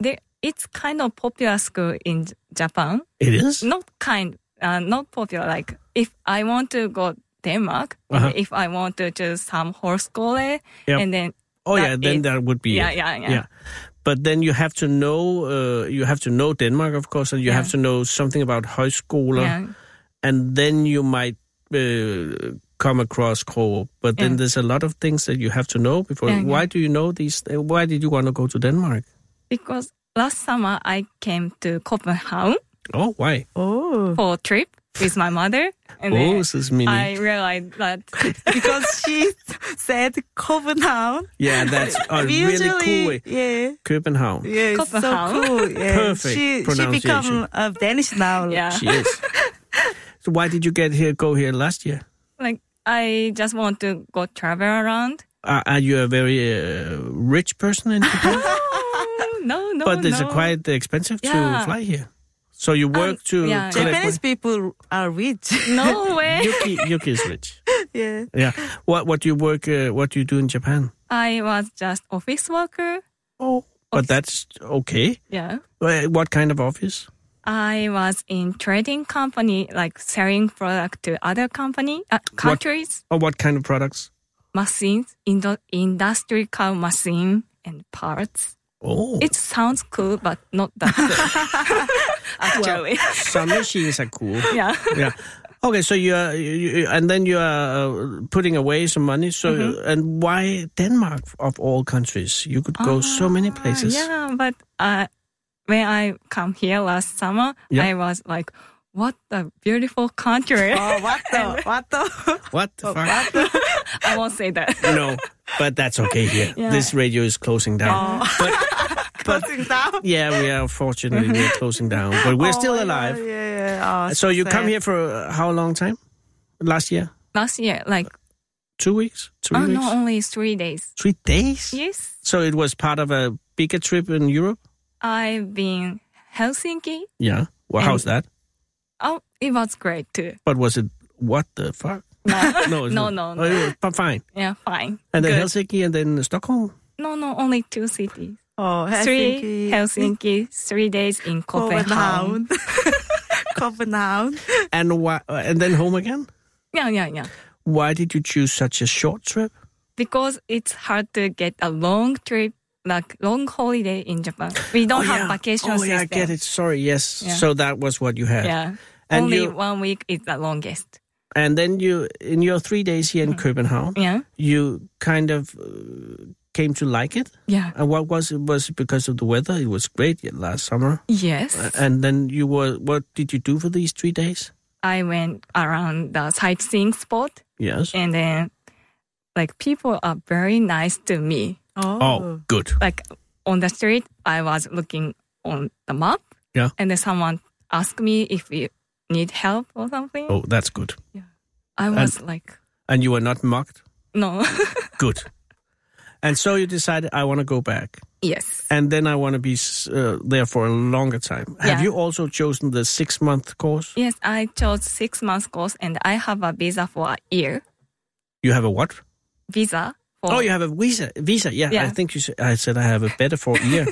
Speaker 5: there, it's kind of popular school in J- Japan.
Speaker 3: It is.
Speaker 5: Not kind, uh, not popular. Like if I want to go Denmark,
Speaker 3: Uh-huh.
Speaker 5: if I want to choose some horse school, eh, and then
Speaker 3: oh yeah,
Speaker 5: that
Speaker 3: then
Speaker 5: is-
Speaker 3: that would be.
Speaker 5: yeah,
Speaker 3: it.
Speaker 5: yeah, yeah.
Speaker 3: But then you have to know. Uh, you have to know Denmark, of course, and you
Speaker 5: Yeah.
Speaker 3: have to know something about højskoler,
Speaker 5: yeah,
Speaker 3: and then you might. Uh, come across Korea, but then
Speaker 5: Yeah.
Speaker 3: there's a lot of things that you have to know before.
Speaker 5: Yeah, yeah.
Speaker 3: Why do you know these? Why did you want to go to Denmark?
Speaker 5: because last summer I came to Copenhagen.
Speaker 3: Oh, why?
Speaker 4: Oh,
Speaker 5: for a trip with my mother, and
Speaker 3: oh,
Speaker 5: then
Speaker 3: this is meaning.
Speaker 5: I realized that
Speaker 4: because she said Copenhagen.
Speaker 3: Yeah, that's a
Speaker 4: We
Speaker 3: really
Speaker 4: usually-
Speaker 3: cool way.
Speaker 4: Yeah.
Speaker 3: Copenhagen.
Speaker 4: Yeah, it's so
Speaker 5: Copenhagen.
Speaker 4: cool. Yeah.
Speaker 3: Perfect
Speaker 4: She she
Speaker 3: pronunciation.
Speaker 4: become uh, Danish now.
Speaker 5: yeah,
Speaker 3: She is. so why did you get here? Go here last year?
Speaker 5: like I just want to go travel around.
Speaker 3: Are, are you a very uh, rich person in Japan?
Speaker 5: no, no,
Speaker 3: but it's
Speaker 5: no.
Speaker 3: quite expensive to
Speaker 5: Yeah. Um,
Speaker 3: fly here. So you work to
Speaker 5: yeah, yeah.
Speaker 3: collect
Speaker 4: Japanese people are rich.
Speaker 5: no
Speaker 3: money.
Speaker 5: way.
Speaker 3: Yuki, Yuki is rich.
Speaker 4: yeah.
Speaker 3: Yeah. What What do you work? Uh, what do you do in Japan?
Speaker 5: I was just office worker.
Speaker 3: Oh, but that's okay.
Speaker 5: Yeah,
Speaker 3: Uh, What kind of office?
Speaker 5: I was in trading company, like selling product to other company uh, countries,
Speaker 3: Or what kind of products?
Speaker 5: machines, indo- industry car machine and parts.
Speaker 3: Oh,
Speaker 5: It sounds cool, but not that cool. Actually,
Speaker 3: some machines are cool.
Speaker 5: yeah.
Speaker 3: yeah. Okay, so you are, you, you- and then you are uh, putting away some money. So,
Speaker 5: Mm-hmm.
Speaker 3: and why Denmark of all countries? You could go so many places.
Speaker 5: Ah, Yeah, but uh, when I come here last summer,
Speaker 3: Yeah.
Speaker 5: I was like, "What a beautiful country!"
Speaker 4: Oh, what the what the.
Speaker 3: What the fuck?
Speaker 5: I won't say that.
Speaker 3: no, but that's okay here.
Speaker 5: Yeah. Oh.
Speaker 3: This radio is closing down.
Speaker 4: Closing down.
Speaker 3: Yeah, we are fortunately we're
Speaker 5: Mm-hmm.
Speaker 3: closing down, but we're
Speaker 4: Oh
Speaker 3: still
Speaker 4: my God,
Speaker 3: alive.
Speaker 4: Yeah, yeah. Oh,
Speaker 3: So you come
Speaker 4: sad.
Speaker 3: here for uh, how long time? Last year,
Speaker 5: Last year, like,
Speaker 3: two weeks, three
Speaker 5: oh
Speaker 3: weeks,
Speaker 5: no, only three days.
Speaker 3: three days.
Speaker 5: Yes,
Speaker 3: So it was part of a bigger trip in Europe.
Speaker 5: I've been Helsinki.
Speaker 3: Yeah. Well,
Speaker 5: And-
Speaker 3: how's that?
Speaker 5: Oh, it was great too.
Speaker 3: But was it what the fuck?
Speaker 5: No,
Speaker 3: No, it's
Speaker 5: no,
Speaker 3: not.
Speaker 5: no,
Speaker 3: Oh,
Speaker 5: no.
Speaker 3: it was- but fine.
Speaker 5: yeah, fine.
Speaker 3: And then
Speaker 5: Good.
Speaker 3: Helsinki and then Stockholm.
Speaker 5: No, no, only two cities.
Speaker 4: Oh,
Speaker 5: Three Helsinki, three days in Copenhagen.
Speaker 4: Copenhagen. Copenhagen.
Speaker 3: And why, uh, and then home again.
Speaker 5: Yeah, yeah, yeah.
Speaker 3: Why did you choose such a short trip?
Speaker 5: Because it's hard to get a long trip like long holiday in Japan. We don't
Speaker 3: oh,
Speaker 5: have
Speaker 3: yeah.
Speaker 5: vacation
Speaker 3: Oh,
Speaker 5: system.
Speaker 3: yeah, I get it. Sorry, yes.
Speaker 5: Yeah.
Speaker 3: So that was what you had.
Speaker 5: Yeah.
Speaker 3: And
Speaker 5: Only
Speaker 3: you-
Speaker 5: one week is the longest.
Speaker 3: And then you, in your three days here in Copenhagen,
Speaker 5: Yeah.
Speaker 3: you kind of uh, came to like it.
Speaker 5: Yeah.
Speaker 3: And what was it? Was it because of the weather? It was great last summer.
Speaker 5: Yes.
Speaker 3: And then you were, what did you do for these three days?
Speaker 5: I went around the sightseeing spot
Speaker 3: Yes.
Speaker 5: and then like people are very nice to me.
Speaker 3: Oh, good.
Speaker 5: Like on the street, I was looking on the map.
Speaker 3: Yeah.
Speaker 5: And then someone asked me if you need help or something.
Speaker 3: Oh, that's good.
Speaker 5: I was like,
Speaker 3: And you were not mocked?
Speaker 5: no.
Speaker 3: Good. and so you decided, I want to go back.
Speaker 5: yes.
Speaker 3: And then I want to be s- uh, there for a longer time. Have
Speaker 5: Yeah.
Speaker 3: you also chosen the six month course?
Speaker 5: Yes, I chose six months course and I have a visa for a year.
Speaker 3: You have a what?
Speaker 5: Visa for
Speaker 3: Oh, you have a visa. Visa, yeah. I
Speaker 5: Yeah.
Speaker 3: think you. s- I said I have a better for a year.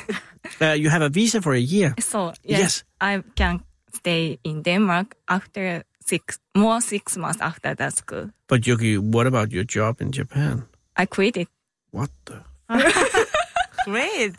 Speaker 3: uh, you have a visa for a year.
Speaker 5: So
Speaker 3: Yes.
Speaker 5: yes, I can stay in Denmark after six more six months after that school.
Speaker 3: But Yuki, what about your job in Japan?
Speaker 5: I quit it.
Speaker 3: What the?
Speaker 4: Great.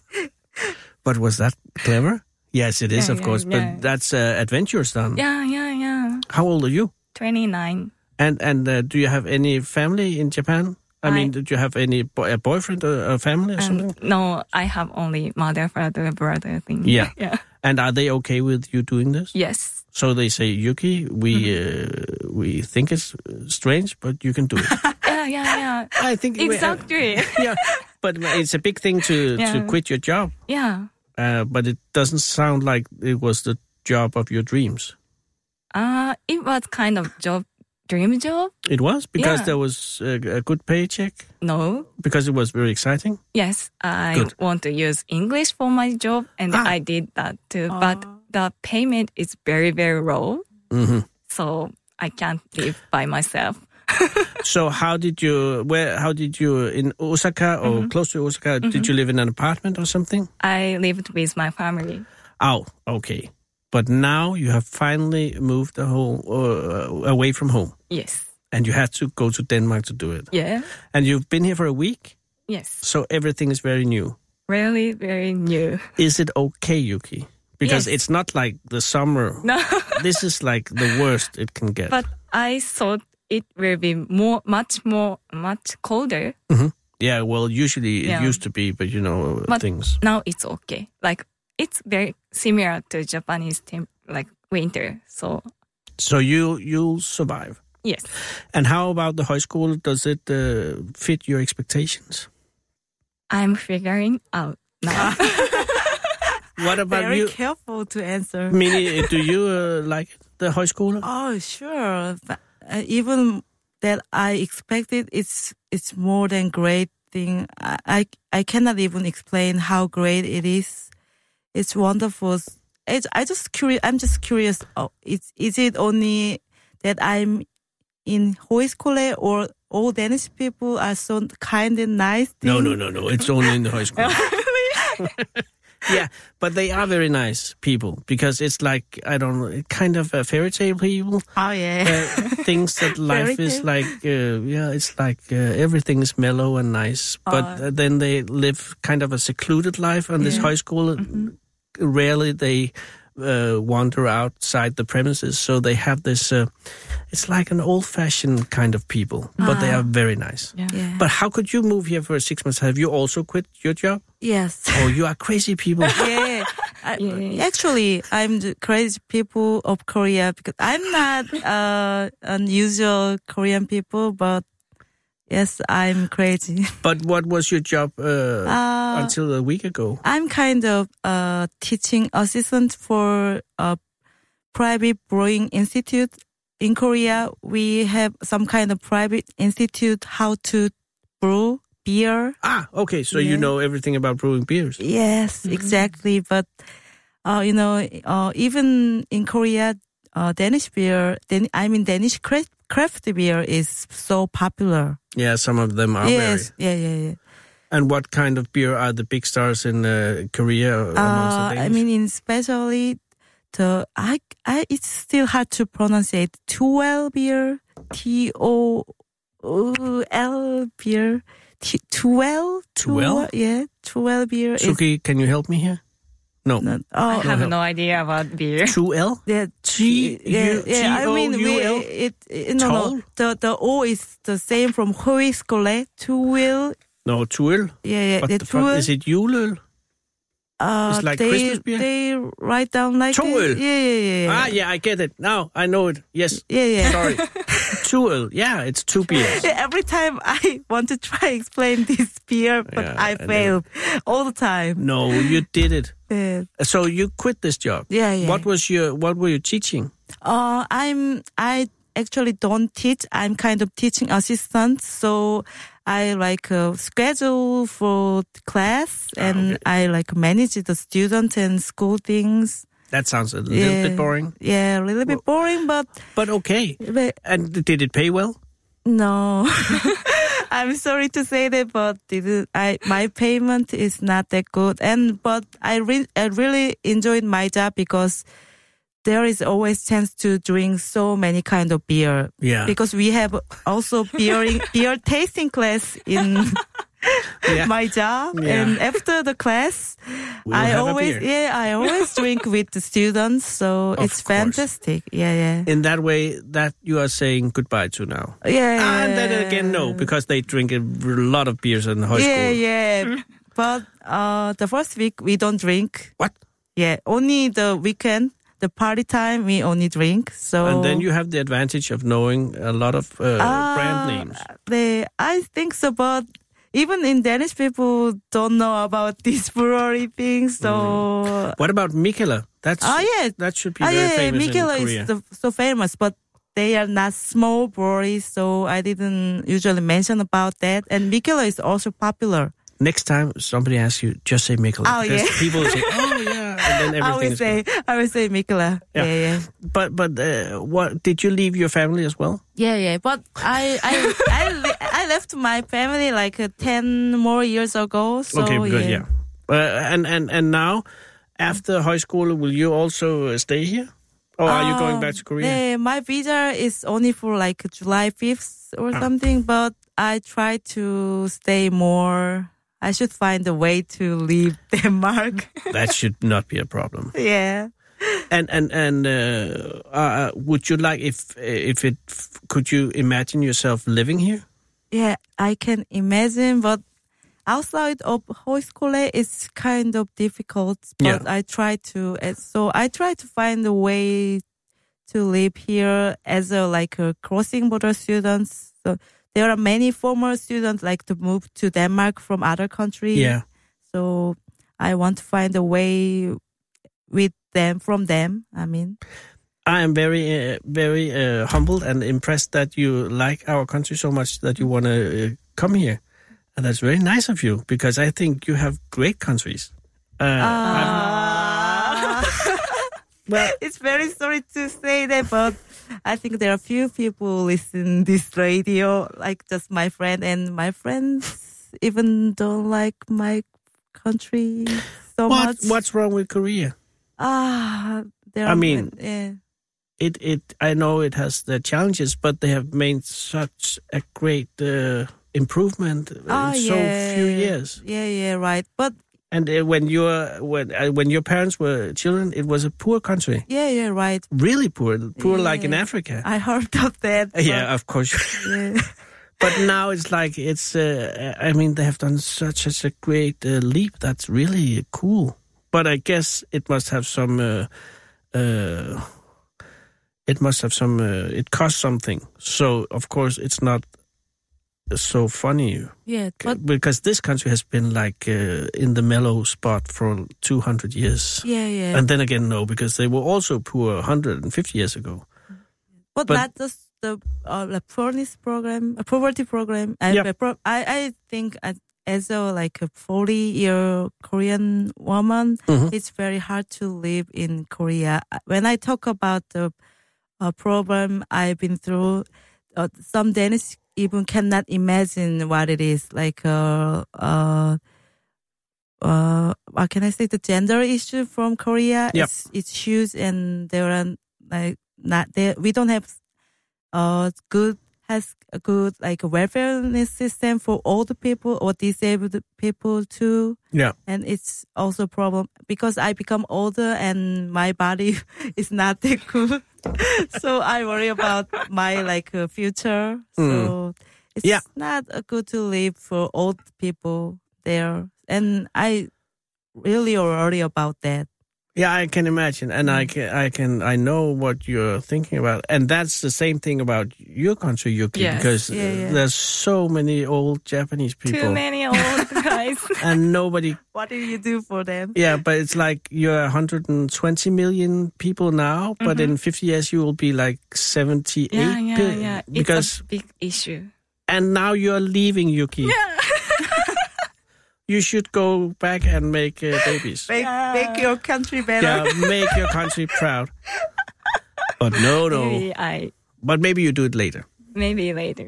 Speaker 3: But was that clever? Yes, it is,
Speaker 5: Yeah,
Speaker 3: of
Speaker 5: yeah,
Speaker 3: course.
Speaker 5: yeah.
Speaker 3: But that's uh, adventurous done.
Speaker 5: Yeah, yeah, yeah.
Speaker 3: How old are you?
Speaker 5: Twenty nine.
Speaker 3: And and uh, do you have any family in Japan? I,
Speaker 5: I- Um,
Speaker 3: mean, did you have any boy, a boyfriend or a family or something?
Speaker 5: And no, I have only mother, father, brother thing.
Speaker 3: Yeah.
Speaker 5: yeah.
Speaker 3: And are they okay with you doing this?
Speaker 5: Yes.
Speaker 3: So they say, Yuki, we uh, we think it's uh, strange, but you can do it.
Speaker 5: Yeah, yeah, yeah.
Speaker 3: I think we-
Speaker 5: exactly.
Speaker 3: yeah, but uh, it's a big thing to to
Speaker 5: Yeah.
Speaker 3: quit your job.
Speaker 5: yeah.
Speaker 3: Uh, but it doesn't sound like it was the job of your dreams.
Speaker 5: Uh it was kind of job dream job.
Speaker 3: It was because
Speaker 5: Yeah.
Speaker 3: there was a, a good paycheck
Speaker 5: No.
Speaker 3: because it was very exciting.
Speaker 5: Yes, I
Speaker 3: Good.
Speaker 5: want to use English for my job, and
Speaker 3: Ah.
Speaker 5: I did that too. But the payment is very, very low,
Speaker 3: Mhm.
Speaker 5: so I can't live by myself.
Speaker 3: So how did you where how did you in Osaka or close to Osaka did you live in an apartment or something?
Speaker 5: I lived with my family.
Speaker 3: Oh, okay. But now you have finally moved a home, uh, away from home
Speaker 5: Yes,
Speaker 3: and you had to go to Denmark to do it.
Speaker 5: yeah,
Speaker 3: And you've been here for a week,
Speaker 5: yes,
Speaker 3: so everything is very new.
Speaker 5: really, very new.
Speaker 3: is it okay, Yuki? Because
Speaker 5: Yes.
Speaker 3: it's not like the summer.
Speaker 5: No,
Speaker 3: This is like the worst it can get.
Speaker 5: but I thought it will be more, much more, much colder.
Speaker 3: yeah, well, usually it
Speaker 5: Yeah.
Speaker 3: used to be, but you know uh,
Speaker 5: But-
Speaker 3: things.
Speaker 5: Now it's okay. Like it's very similar to Japanese temp, like winter. So
Speaker 3: So you you'll survive.
Speaker 5: yes.
Speaker 3: And how about the high school? Does it uh, fit your expectations?
Speaker 5: I'm figuring out now.
Speaker 3: What about
Speaker 4: Very
Speaker 3: you,
Speaker 4: careful to answer.
Speaker 3: Minnie? Do you uh, like the high school?
Speaker 4: Oh, sure. But, uh, even that I expected, it's it's more than great thing. I, I I cannot even explain how great it is. It's wonderful. It's, I just curious. I'm just curious. Oh, it's is it only that I'm in Hoiskole or all Danish people are so kind and nice?
Speaker 3: No,
Speaker 4: thing?
Speaker 3: no, no, no. It's only in the high school. yeah, but they are very nice people because it's like I don't know, kind of a fairy tale people.
Speaker 4: Oh yeah.
Speaker 3: uh, things that life
Speaker 4: Very
Speaker 3: is
Speaker 4: good.
Speaker 3: like uh, yeah it's like uh, everything is mellow and nice but uh, then they live kind of a secluded life on this high school rarely they uh, wander outside the premises so they have this uh, it's like an old fashioned kind of people but they are very nice
Speaker 4: yeah.
Speaker 3: but how could you move here for six months have you also quit your job
Speaker 4: yes.
Speaker 3: oh you are crazy people
Speaker 4: yeah. I, Actually, I'm the crazy people of Korea because I'm not uh, unusual Korean people, but yes, I'm crazy.
Speaker 3: but what was your job uh,
Speaker 4: Uh,
Speaker 3: until a week ago
Speaker 4: I'm kind of a teaching assistant for a private brewing institute. In Korea, we have some kind of private institute how to brew beer.
Speaker 3: ah okay so you
Speaker 4: yeah.
Speaker 3: know everything about brewing beers
Speaker 4: Yes,
Speaker 3: Mm-hmm.
Speaker 4: exactly. But uh, you know, uh, even in Korea, uh, Danish beer, Dan- I mean Danish craft, craft beer is so popular.
Speaker 3: Yeah, some of them are
Speaker 4: yes, yeah, yeah, yeah.
Speaker 3: very. And what kind of beer are the big stars in uh, Korea amongst
Speaker 4: Uh,
Speaker 3: the
Speaker 4: I
Speaker 3: Danes?
Speaker 4: mean, in especially the I, I it's still hard to pronounce it. Twelve beer, T O O L beer, t- 12,
Speaker 3: 12?
Speaker 4: yeah, 12 beer is
Speaker 3: Suki, can you help me here? No.
Speaker 4: not,
Speaker 5: I
Speaker 4: oh,
Speaker 5: have no idea about beer.
Speaker 3: 2L?
Speaker 4: yeah,
Speaker 3: G-
Speaker 4: yeah,
Speaker 3: U-
Speaker 4: yeah, I mean, we,
Speaker 3: T O U L?
Speaker 4: it, it, no, no,
Speaker 3: Tall?
Speaker 4: the, the O is the same from højskole to will,
Speaker 3: No, 2L.
Speaker 4: yeah, yeah,
Speaker 3: What
Speaker 4: the
Speaker 3: the fuck? Is it juleøl?
Speaker 4: uh,
Speaker 3: It's like
Speaker 4: they,
Speaker 3: Christmas beer?
Speaker 4: They write down like
Speaker 3: To
Speaker 4: this.
Speaker 3: will.
Speaker 4: Yeah, yeah, yeah, yeah.
Speaker 3: Ah, yeah, I get it. Now I know it. Yes.
Speaker 4: yeah, yeah.
Speaker 3: Sorry. 2L. Yeah, it's two beers.
Speaker 4: Yeah, Every time I want to try explain this beer, but
Speaker 3: Yeah,
Speaker 4: I
Speaker 3: I know.
Speaker 4: fail all the time.
Speaker 3: No, you did it.
Speaker 4: Yeah.
Speaker 3: So you quit this job.
Speaker 4: Yeah, yeah.
Speaker 3: What was your what were you teaching?
Speaker 4: Uh, I'm I actually don't teach. I'm kind of teaching assistant, so I like uh, schedule for class
Speaker 3: Ah,
Speaker 4: and I like manage the student and school things.
Speaker 3: That sounds a little
Speaker 4: yeah.
Speaker 3: bit boring.
Speaker 4: Yeah, a little bit boring, but,
Speaker 3: But okay.
Speaker 4: but
Speaker 3: And did it pay well?
Speaker 4: no. I'm sorry to say that, but it is, I my payment is not that good. And but I re- I really enjoyed my job because there is always chance to drink so many kind of beer.
Speaker 3: Yeah.
Speaker 4: because we have also beer beer tasting class in
Speaker 3: Yeah.
Speaker 4: my job
Speaker 3: Yeah.
Speaker 4: and after the class
Speaker 3: We'll
Speaker 4: i
Speaker 3: have a
Speaker 4: always
Speaker 3: beer.
Speaker 4: yeah i always drink with the students so
Speaker 3: Of
Speaker 4: it's
Speaker 3: course.
Speaker 4: fantastic yeah yeah
Speaker 3: In that way that you are saying goodbye to now.
Speaker 4: yeah
Speaker 3: Ah, And then again no, because they drink a lot of beers in high
Speaker 4: yeah
Speaker 3: school.
Speaker 4: yeah but uh the first week we don't drink
Speaker 3: What?
Speaker 4: yeah only the weekend the party time we only drink so
Speaker 3: And then you have the advantage of knowing a lot of uh, brand names.
Speaker 4: They, Ah, I think so, but even in Danish, people don't know about this brewery thing. So,
Speaker 3: What about Mikela? That's
Speaker 4: oh yeah,
Speaker 3: that should be
Speaker 4: oh,
Speaker 3: very
Speaker 4: yeah,
Speaker 3: Mm. famous
Speaker 4: Mikela
Speaker 3: in Korea.
Speaker 4: is so, so famous, but they are not small breweries, so I didn't usually mention about that. And Mikela is also popular.
Speaker 3: Next time somebody asks you, just say Mikela.
Speaker 4: Oh,
Speaker 3: because
Speaker 4: yeah.
Speaker 3: people will say, "Oh yeah," and then
Speaker 4: I
Speaker 3: everything is
Speaker 4: would say, I would say Mikela.
Speaker 3: Yeah.
Speaker 4: yeah. yeah.
Speaker 3: good. But but uh, what did you leave your family as well?
Speaker 4: Yeah, yeah, but I I I, le- I left my family like uh, ten more years ago. So
Speaker 3: okay, good,
Speaker 4: yeah.
Speaker 3: yeah. Uh, and and and now, after high school, will you also uh, stay here, or are you going
Speaker 4: Um,
Speaker 3: back to Korea?
Speaker 4: Yeah, my visa is only for like July 5th
Speaker 3: Ah.
Speaker 4: or something, but I try to stay more. I should find a way to leave Denmark.
Speaker 3: That should not be a problem.
Speaker 4: yeah.
Speaker 3: And and and uh, uh, would you like if uh, if it could you imagine yourself living here?
Speaker 4: Yeah, I can imagine, but outside of Hoiskole, it's kind of difficult, but I try to, and so I try to find a way to live here as a, like a crossing border students. So there are many former students like to move to Denmark from other countries.
Speaker 3: Yeah.
Speaker 4: So I want to find a way with them, from them, I mean.
Speaker 3: I am very, uh, very uh, humbled and impressed that you like our country so much that you want to uh, come here, and that's very nice of you because I think you have great countries. Uh, I've- Ah.
Speaker 4: well, it's very sorry to say that, but I think there are few people listen this radio, like just my friend and my friends even don't like my country so
Speaker 3: what,
Speaker 4: much.
Speaker 3: what's wrong with Korea?
Speaker 4: Ah, there.
Speaker 3: I
Speaker 4: are-
Speaker 3: mean-
Speaker 4: yeah.
Speaker 3: It, it. I know it has the challenges, but they have made such a great uh, improvement
Speaker 4: Ah,
Speaker 3: in so
Speaker 4: yeah.
Speaker 3: few years.
Speaker 4: Yeah, yeah, right. But
Speaker 3: And uh, when your when uh, when your parents were children, it was a poor country,
Speaker 4: yeah, yeah, right.
Speaker 3: really poor, poor like in
Speaker 4: Yeah. Uh,
Speaker 3: Africa.
Speaker 4: I heard of that. but-
Speaker 3: yeah, of course.
Speaker 4: yeah.
Speaker 3: but now it's like it's uh, i mean they have done such such a great uh, leap that's really cool but i guess it must have some uh, uh, it must have some uh, it costs something so of course it's not so funny
Speaker 4: yeah, but
Speaker 3: because this country has been like uh, in the mellow spot for 200 years
Speaker 4: yeah, yeah.
Speaker 3: and then again no because they were also poor 150 years ago
Speaker 4: but,
Speaker 3: But-
Speaker 4: not just the uh, the poorness program, uh, poverty program. I,
Speaker 3: Yeah.
Speaker 4: pro- I I think as- as a like a forty year Korean woman,
Speaker 3: Mhm.
Speaker 4: it's very hard to live in Korea. Uh, When I talk about the uh, problem I've been through, uh, some Danish even cannot imagine what it is like. Uh, uh, uh, what can I say? The gender issue from Korea
Speaker 3: Yep.
Speaker 4: it's it's huge, and there are like not there. We don't have uh good has a good like welfare system for older people or disabled people too.
Speaker 3: Yeah.
Speaker 4: And it's also a problem because I become older and my body is not that good. so I worry about my like uh, future. So it's
Speaker 3: Yeah.
Speaker 4: not uh, good to live for old people there. And I really worry about that.
Speaker 3: Yeah, I can imagine, and
Speaker 5: Mm.
Speaker 3: I can, I can, I know what you're thinking about, and that's the same thing about your country, Yuki,
Speaker 5: Yes.
Speaker 3: because
Speaker 4: Yeah,
Speaker 3: uh,
Speaker 4: yeah.
Speaker 3: there's so many old Japanese people,
Speaker 5: Too many old guys.
Speaker 3: and nobody.
Speaker 4: What do you do for them?
Speaker 3: Yeah, but it's like you're 120 million people now, but in 50 years you will be like 78
Speaker 5: Mm-hmm. yeah, yeah,
Speaker 3: bi-
Speaker 5: yeah.
Speaker 3: because
Speaker 5: it's a big issue.
Speaker 3: and now you're leaving Yuki.
Speaker 5: Yeah.
Speaker 3: You should go back and make uh, babies.
Speaker 4: Make, make your country better.
Speaker 3: yeah, make your country proud. But no, no.
Speaker 5: Maybe I
Speaker 3: But maybe you do it later.
Speaker 5: maybe later.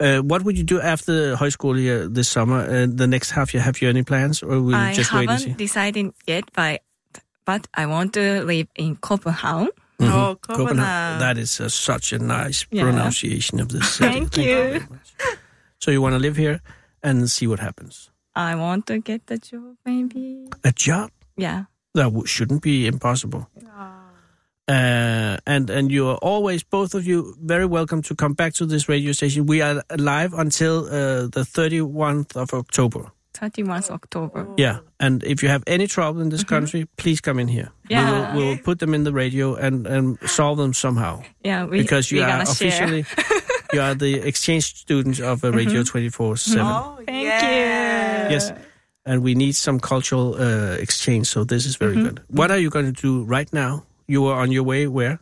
Speaker 3: Uh, what would you do after high school year this summer? Uh, the next half year, have you any plans, or will
Speaker 5: I
Speaker 3: you just wait and see?
Speaker 5: haven't decided yet, but but I want to live in Copenhagen.
Speaker 4: Oh,
Speaker 3: Copenhagen.
Speaker 4: Copenhagen.
Speaker 3: That is uh, such a nice
Speaker 5: Yeah.
Speaker 3: pronunciation of this. city.
Speaker 5: Thank
Speaker 3: you
Speaker 5: you.
Speaker 3: very much. So you want to live here and see what happens.
Speaker 5: I want to get the job, maybe.
Speaker 3: A job
Speaker 5: Yeah.
Speaker 3: that w- shouldn't be impossible.
Speaker 5: Ah.
Speaker 3: Uh, and and you are always both of you very welcome to come back to this radio station. We are live until uh, the thirty one of October.
Speaker 5: 31st October.
Speaker 3: Yeah,
Speaker 5: Mm-hmm.
Speaker 3: and if you have any trouble in this country, please come in here.
Speaker 5: Yeah.
Speaker 3: We will we'll put them in the radio and, and solve them somehow
Speaker 5: Yeah, we,
Speaker 3: because you
Speaker 5: we're
Speaker 3: are
Speaker 5: gonna share.
Speaker 3: officially you are the exchange students of uh, Radio
Speaker 5: Mm-hmm.
Speaker 3: twenty four seven.
Speaker 4: Oh,
Speaker 5: Thank
Speaker 4: yeah.
Speaker 5: you.
Speaker 3: Yes, and we need some cultural uh, exchange, so this is very
Speaker 5: Mm-hmm.
Speaker 3: good. What are you going to do right now? You are on your way where?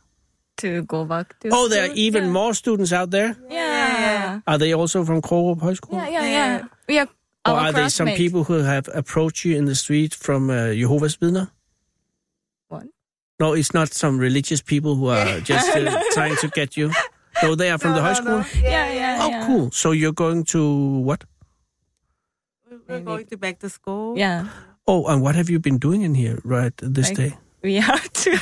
Speaker 5: To go back to.
Speaker 3: Oh, there are
Speaker 5: school.
Speaker 3: even
Speaker 5: yeah.
Speaker 3: more students out there.
Speaker 5: Yeah.
Speaker 3: Are they also from Korup High School?
Speaker 5: Yeah, yeah, yeah. We are.
Speaker 3: Oh. Or
Speaker 5: our
Speaker 3: are there some
Speaker 5: classmates.
Speaker 3: er people who have approached you in the street from uh, Jehovah's Vidner?
Speaker 5: What?
Speaker 3: No, it's not some religious people who are just uh, trying to get you. No, they are from the high school.
Speaker 5: Yeah, yeah.
Speaker 3: Oh,
Speaker 5: yeah.
Speaker 3: cool. So you're going to what?
Speaker 4: We're going to back to school.
Speaker 5: Yeah.
Speaker 3: Oh, and what have you been doing in here right this
Speaker 5: Like-
Speaker 3: day?
Speaker 5: We have to.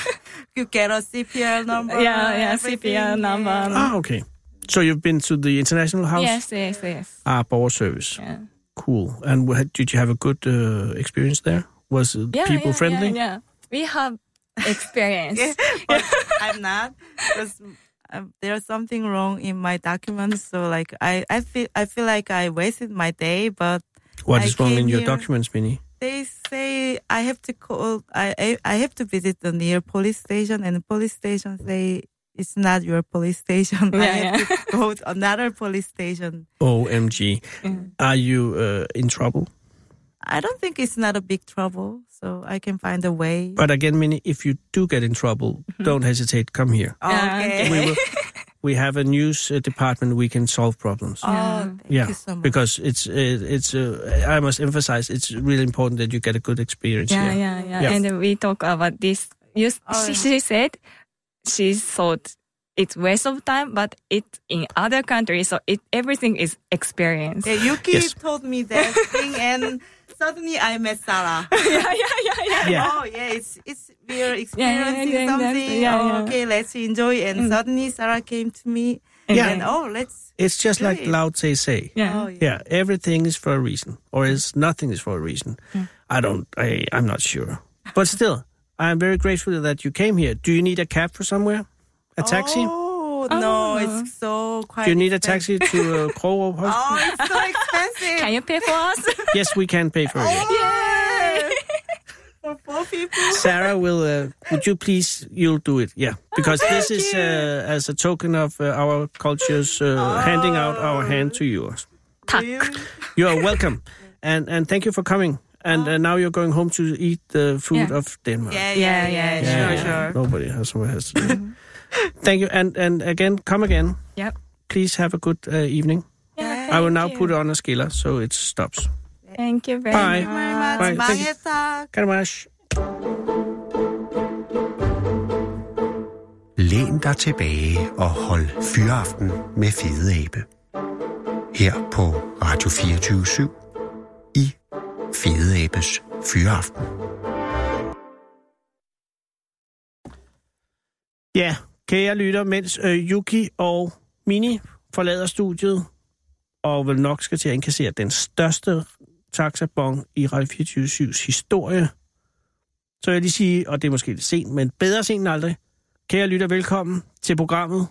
Speaker 4: You get a CPR number.
Speaker 5: yeah, yeah.
Speaker 4: everything.
Speaker 5: CPR number.
Speaker 3: Ah, okay. So you've been to the international house?
Speaker 5: Yes, yes, yes.
Speaker 3: Ah, Borger Service.
Speaker 5: Yeah.
Speaker 3: Cool. And wha- did you have a good uh, experience there? Was uh,
Speaker 5: Yeah,
Speaker 3: people
Speaker 5: yeah,
Speaker 3: friendly?
Speaker 5: Yeah, yeah. We have experience.
Speaker 4: Yeah, but I'm not. 'cause, um, there's something wrong in my documents. So like I, I feel I feel like I wasted my day, but
Speaker 3: What
Speaker 4: I
Speaker 3: is wrong in
Speaker 4: came
Speaker 3: your
Speaker 4: here-
Speaker 3: documents, Minnie?
Speaker 4: they say I have to call I, I, I have to visit the near police station and the police station say it's not your police station. I
Speaker 5: Yeah,
Speaker 4: have to go to another police station.
Speaker 3: OMG.
Speaker 5: Mm.
Speaker 3: Are you uh, in trouble?
Speaker 4: I don't think it's not a big trouble, so I can find a way.
Speaker 3: But again, Minnie, if you do get in trouble, don't hesitate. Come here.
Speaker 4: Mm-hmm. okay.
Speaker 3: We, will, we have a news uh, department. We can solve problems.
Speaker 4: Oh, thank
Speaker 3: yeah,
Speaker 4: you so much.
Speaker 3: because it's uh, it's. Uh, I must emphasize, it's really important that you get a good experience
Speaker 5: yeah,
Speaker 3: here.
Speaker 5: yeah, yeah,
Speaker 3: Yeah.
Speaker 5: And we talk about this. You,
Speaker 4: Oh,
Speaker 5: she,
Speaker 4: yeah.
Speaker 5: she said she thought it's waste of time, but it's in other countries, so it everything is experience.
Speaker 4: Yeah, Yuki
Speaker 3: Yes.
Speaker 4: told me that thing, and suddenly I met Sarah.
Speaker 5: yeah, yeah, yeah, yeah.
Speaker 4: Oh yeah, it's it's we're
Speaker 5: yeah,
Speaker 4: experiencing
Speaker 5: yeah, that's-
Speaker 4: something.
Speaker 5: yeah,
Speaker 4: oh,
Speaker 5: yeah. Mm.
Speaker 4: Okay, let's enjoy. And suddenly Sarah came to me,
Speaker 3: Yeah.
Speaker 4: and oh, let's.
Speaker 3: It's just like
Speaker 4: Really?
Speaker 3: Lao Tse say.
Speaker 5: Yeah.
Speaker 4: Oh, yeah.
Speaker 3: Yeah, everything is for a reason, or is nothing is for a reason. I don't. I I'm not sure, but still, I'm very grateful that you came here. Do you need a cab for somewhere? A taxi?
Speaker 4: Oh no, it's so quite.
Speaker 3: Do you need a
Speaker 4: expensive.
Speaker 3: taxi to uh, Kroger Hospital?
Speaker 4: Oh, it's so expensive.
Speaker 5: Can you pay for us?
Speaker 3: Yes, we can pay for
Speaker 4: Oh.
Speaker 3: you.
Speaker 4: Yay! For four people.
Speaker 3: Sarah will. Uh, would you please? You'll do it. Yeah, because
Speaker 5: Oh,
Speaker 3: this is uh, as a token of uh, our cultures uh, handing out our
Speaker 5: Oh.
Speaker 3: hand to yours.
Speaker 4: Really?
Speaker 3: You are welcome, and and thank you for coming. And uh, now you're going home to eat the food
Speaker 5: Yeah. Mm-hmm.
Speaker 3: of Denmark.
Speaker 4: Yeah, yeah, yeah,
Speaker 3: Yeah,
Speaker 4: sure,
Speaker 3: yeah.
Speaker 4: sure.
Speaker 3: Nobody has someone has to. do it. Thank you, and and again, come again.
Speaker 5: Yep.
Speaker 3: Please have a good uh, evening.
Speaker 5: yeah,
Speaker 3: I will
Speaker 5: thank
Speaker 3: now
Speaker 5: you.
Speaker 3: put on a skiller so it stops.
Speaker 5: Thank you very
Speaker 3: Bye.
Speaker 5: much.
Speaker 4: Very much.
Speaker 3: Bye, thank you.
Speaker 4: 망했다.
Speaker 3: Karamash.
Speaker 1: Læn dig tilbage og hold fyraften med Fede Abe. Her på Radio 24 i Fede Abes Fyraften.
Speaker 3: Ja, kære lytter, mens øh, Yuki og Mini forlader studiet, og vel nok skal til at indkassere den største taxabong i Radio 24-7's historie. Så vil jeg lige sige, og det er måske lidt sent, men bedre sent end aldrig. Kære lytter, velkommen til programmet.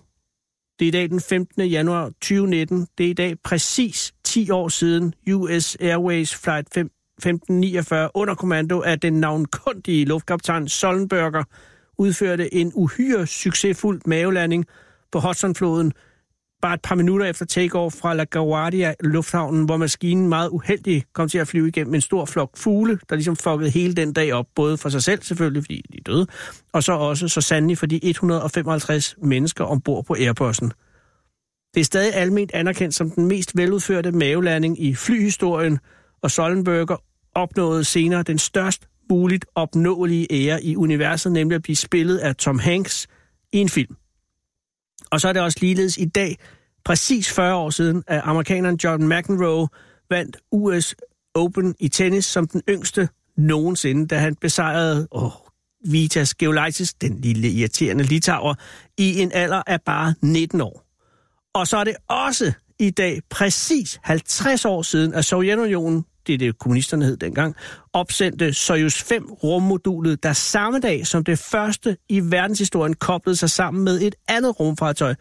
Speaker 3: Det er i dag den 15. januar 2019. Det er i dag præcis 10 år siden US Airways Flight 5 1549 under kommando af den navnkundige luftkaptajn Sollenberger udførte en uhyre succesfuld mavelanding på Hudsonfloden bare et par minutter efter takeoff fra LaGuardia Lufthavnen, hvor maskinen meget uheldig kom til at flyve igennem en stor flok fugle, der ligesom fuckede hele den dag op, både for sig selv selvfølgelig, fordi de er døde, og så også så sandelig for de 155 mennesker ombord på Airbussen. Det er stadig almindeligt anerkendt som den mest veludførte mavelanding i flyhistorien, og Sollenberger opnåede senere den størst muligt opnåelige ære i universet, nemlig at blive spillet af Tom Hanks i en film. Og så er det også ligeledes i dag, præcis 40 år siden, at amerikaneren John McEnroe vandt US Open i tennis som den yngste nogensinde, da han besejrede åh, Vitas Geolaitis, den lille irriterende litauer, i en alder af bare 19 år. Og så er det også i dag præcis 50 år siden, at Sovjetunionen, det er det kommunisterne hed dengang, opsendte Soyuz 5 rummodulet, der samme dag som det første i verdenshistorien koblede sig sammen med et andet rumfartøj,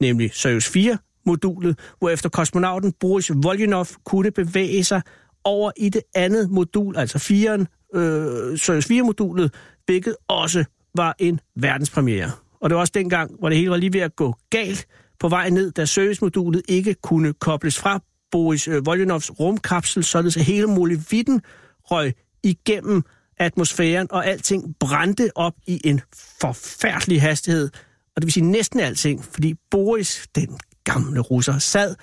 Speaker 3: nemlig Soyuz 4 modulet, hvorefter kosmonauten Boris Volynov kunne bevæge sig over i det andet modul, altså 4'eren, øh, Soyuz 4 modulet, hvilket også var en verdenspremiere. Og det var også dengang, hvor det hele var lige ved at gå galt på vej ned, da servicemodulet ikke kunne kobles fra Boris øh, Volyanovs rumkapsel, således at hele molevitten røg igennem atmosfæren, og alting brændte op i en forfærdelig hastighed. Og det vil sige næsten alting, fordi Boris, den gamle russer, sad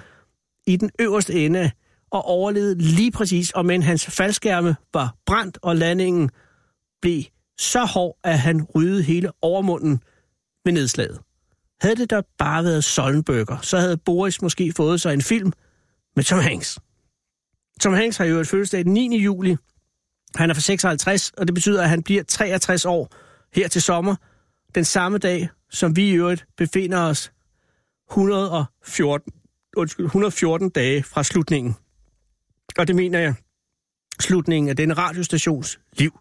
Speaker 3: i den øverste ende og overlevede lige præcis, og men hans faldskærme var brændt, og landingen blev så hård, at han rydede hele overmunden ved nedslaget. Havde det da bare været Sollenbøger, så havde Boris måske fået sig en film med Tom Hanks. Tom Hanks har jo et fødselsdag den 9. juli. Han er fra 56, og det betyder, at han bliver 63 år her til sommer. Den samme dag, som vi i øvrigt befinder os 114, undskyld, 114 dage fra slutningen. Og det mener jeg, slutningen af denne radiostations liv.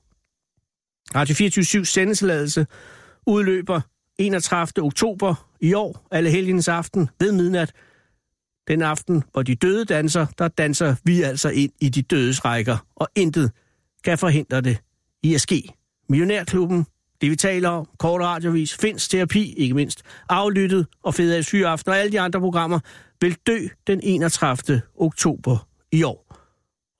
Speaker 3: Radio 24 sendetilladelse udløber 31. oktober i år, alle helgens aften ved midnat. Den aften, hvor de døde danser, der danser vi altså ind i de dødes rækker, og intet kan forhindre det i at ske. Millionærklubben, det vi taler om, kort radiovis, finsk terapi, ikke mindst, aflyttet og fede af sygeaften og alle de andre programmer, vil dø den 31. oktober i år.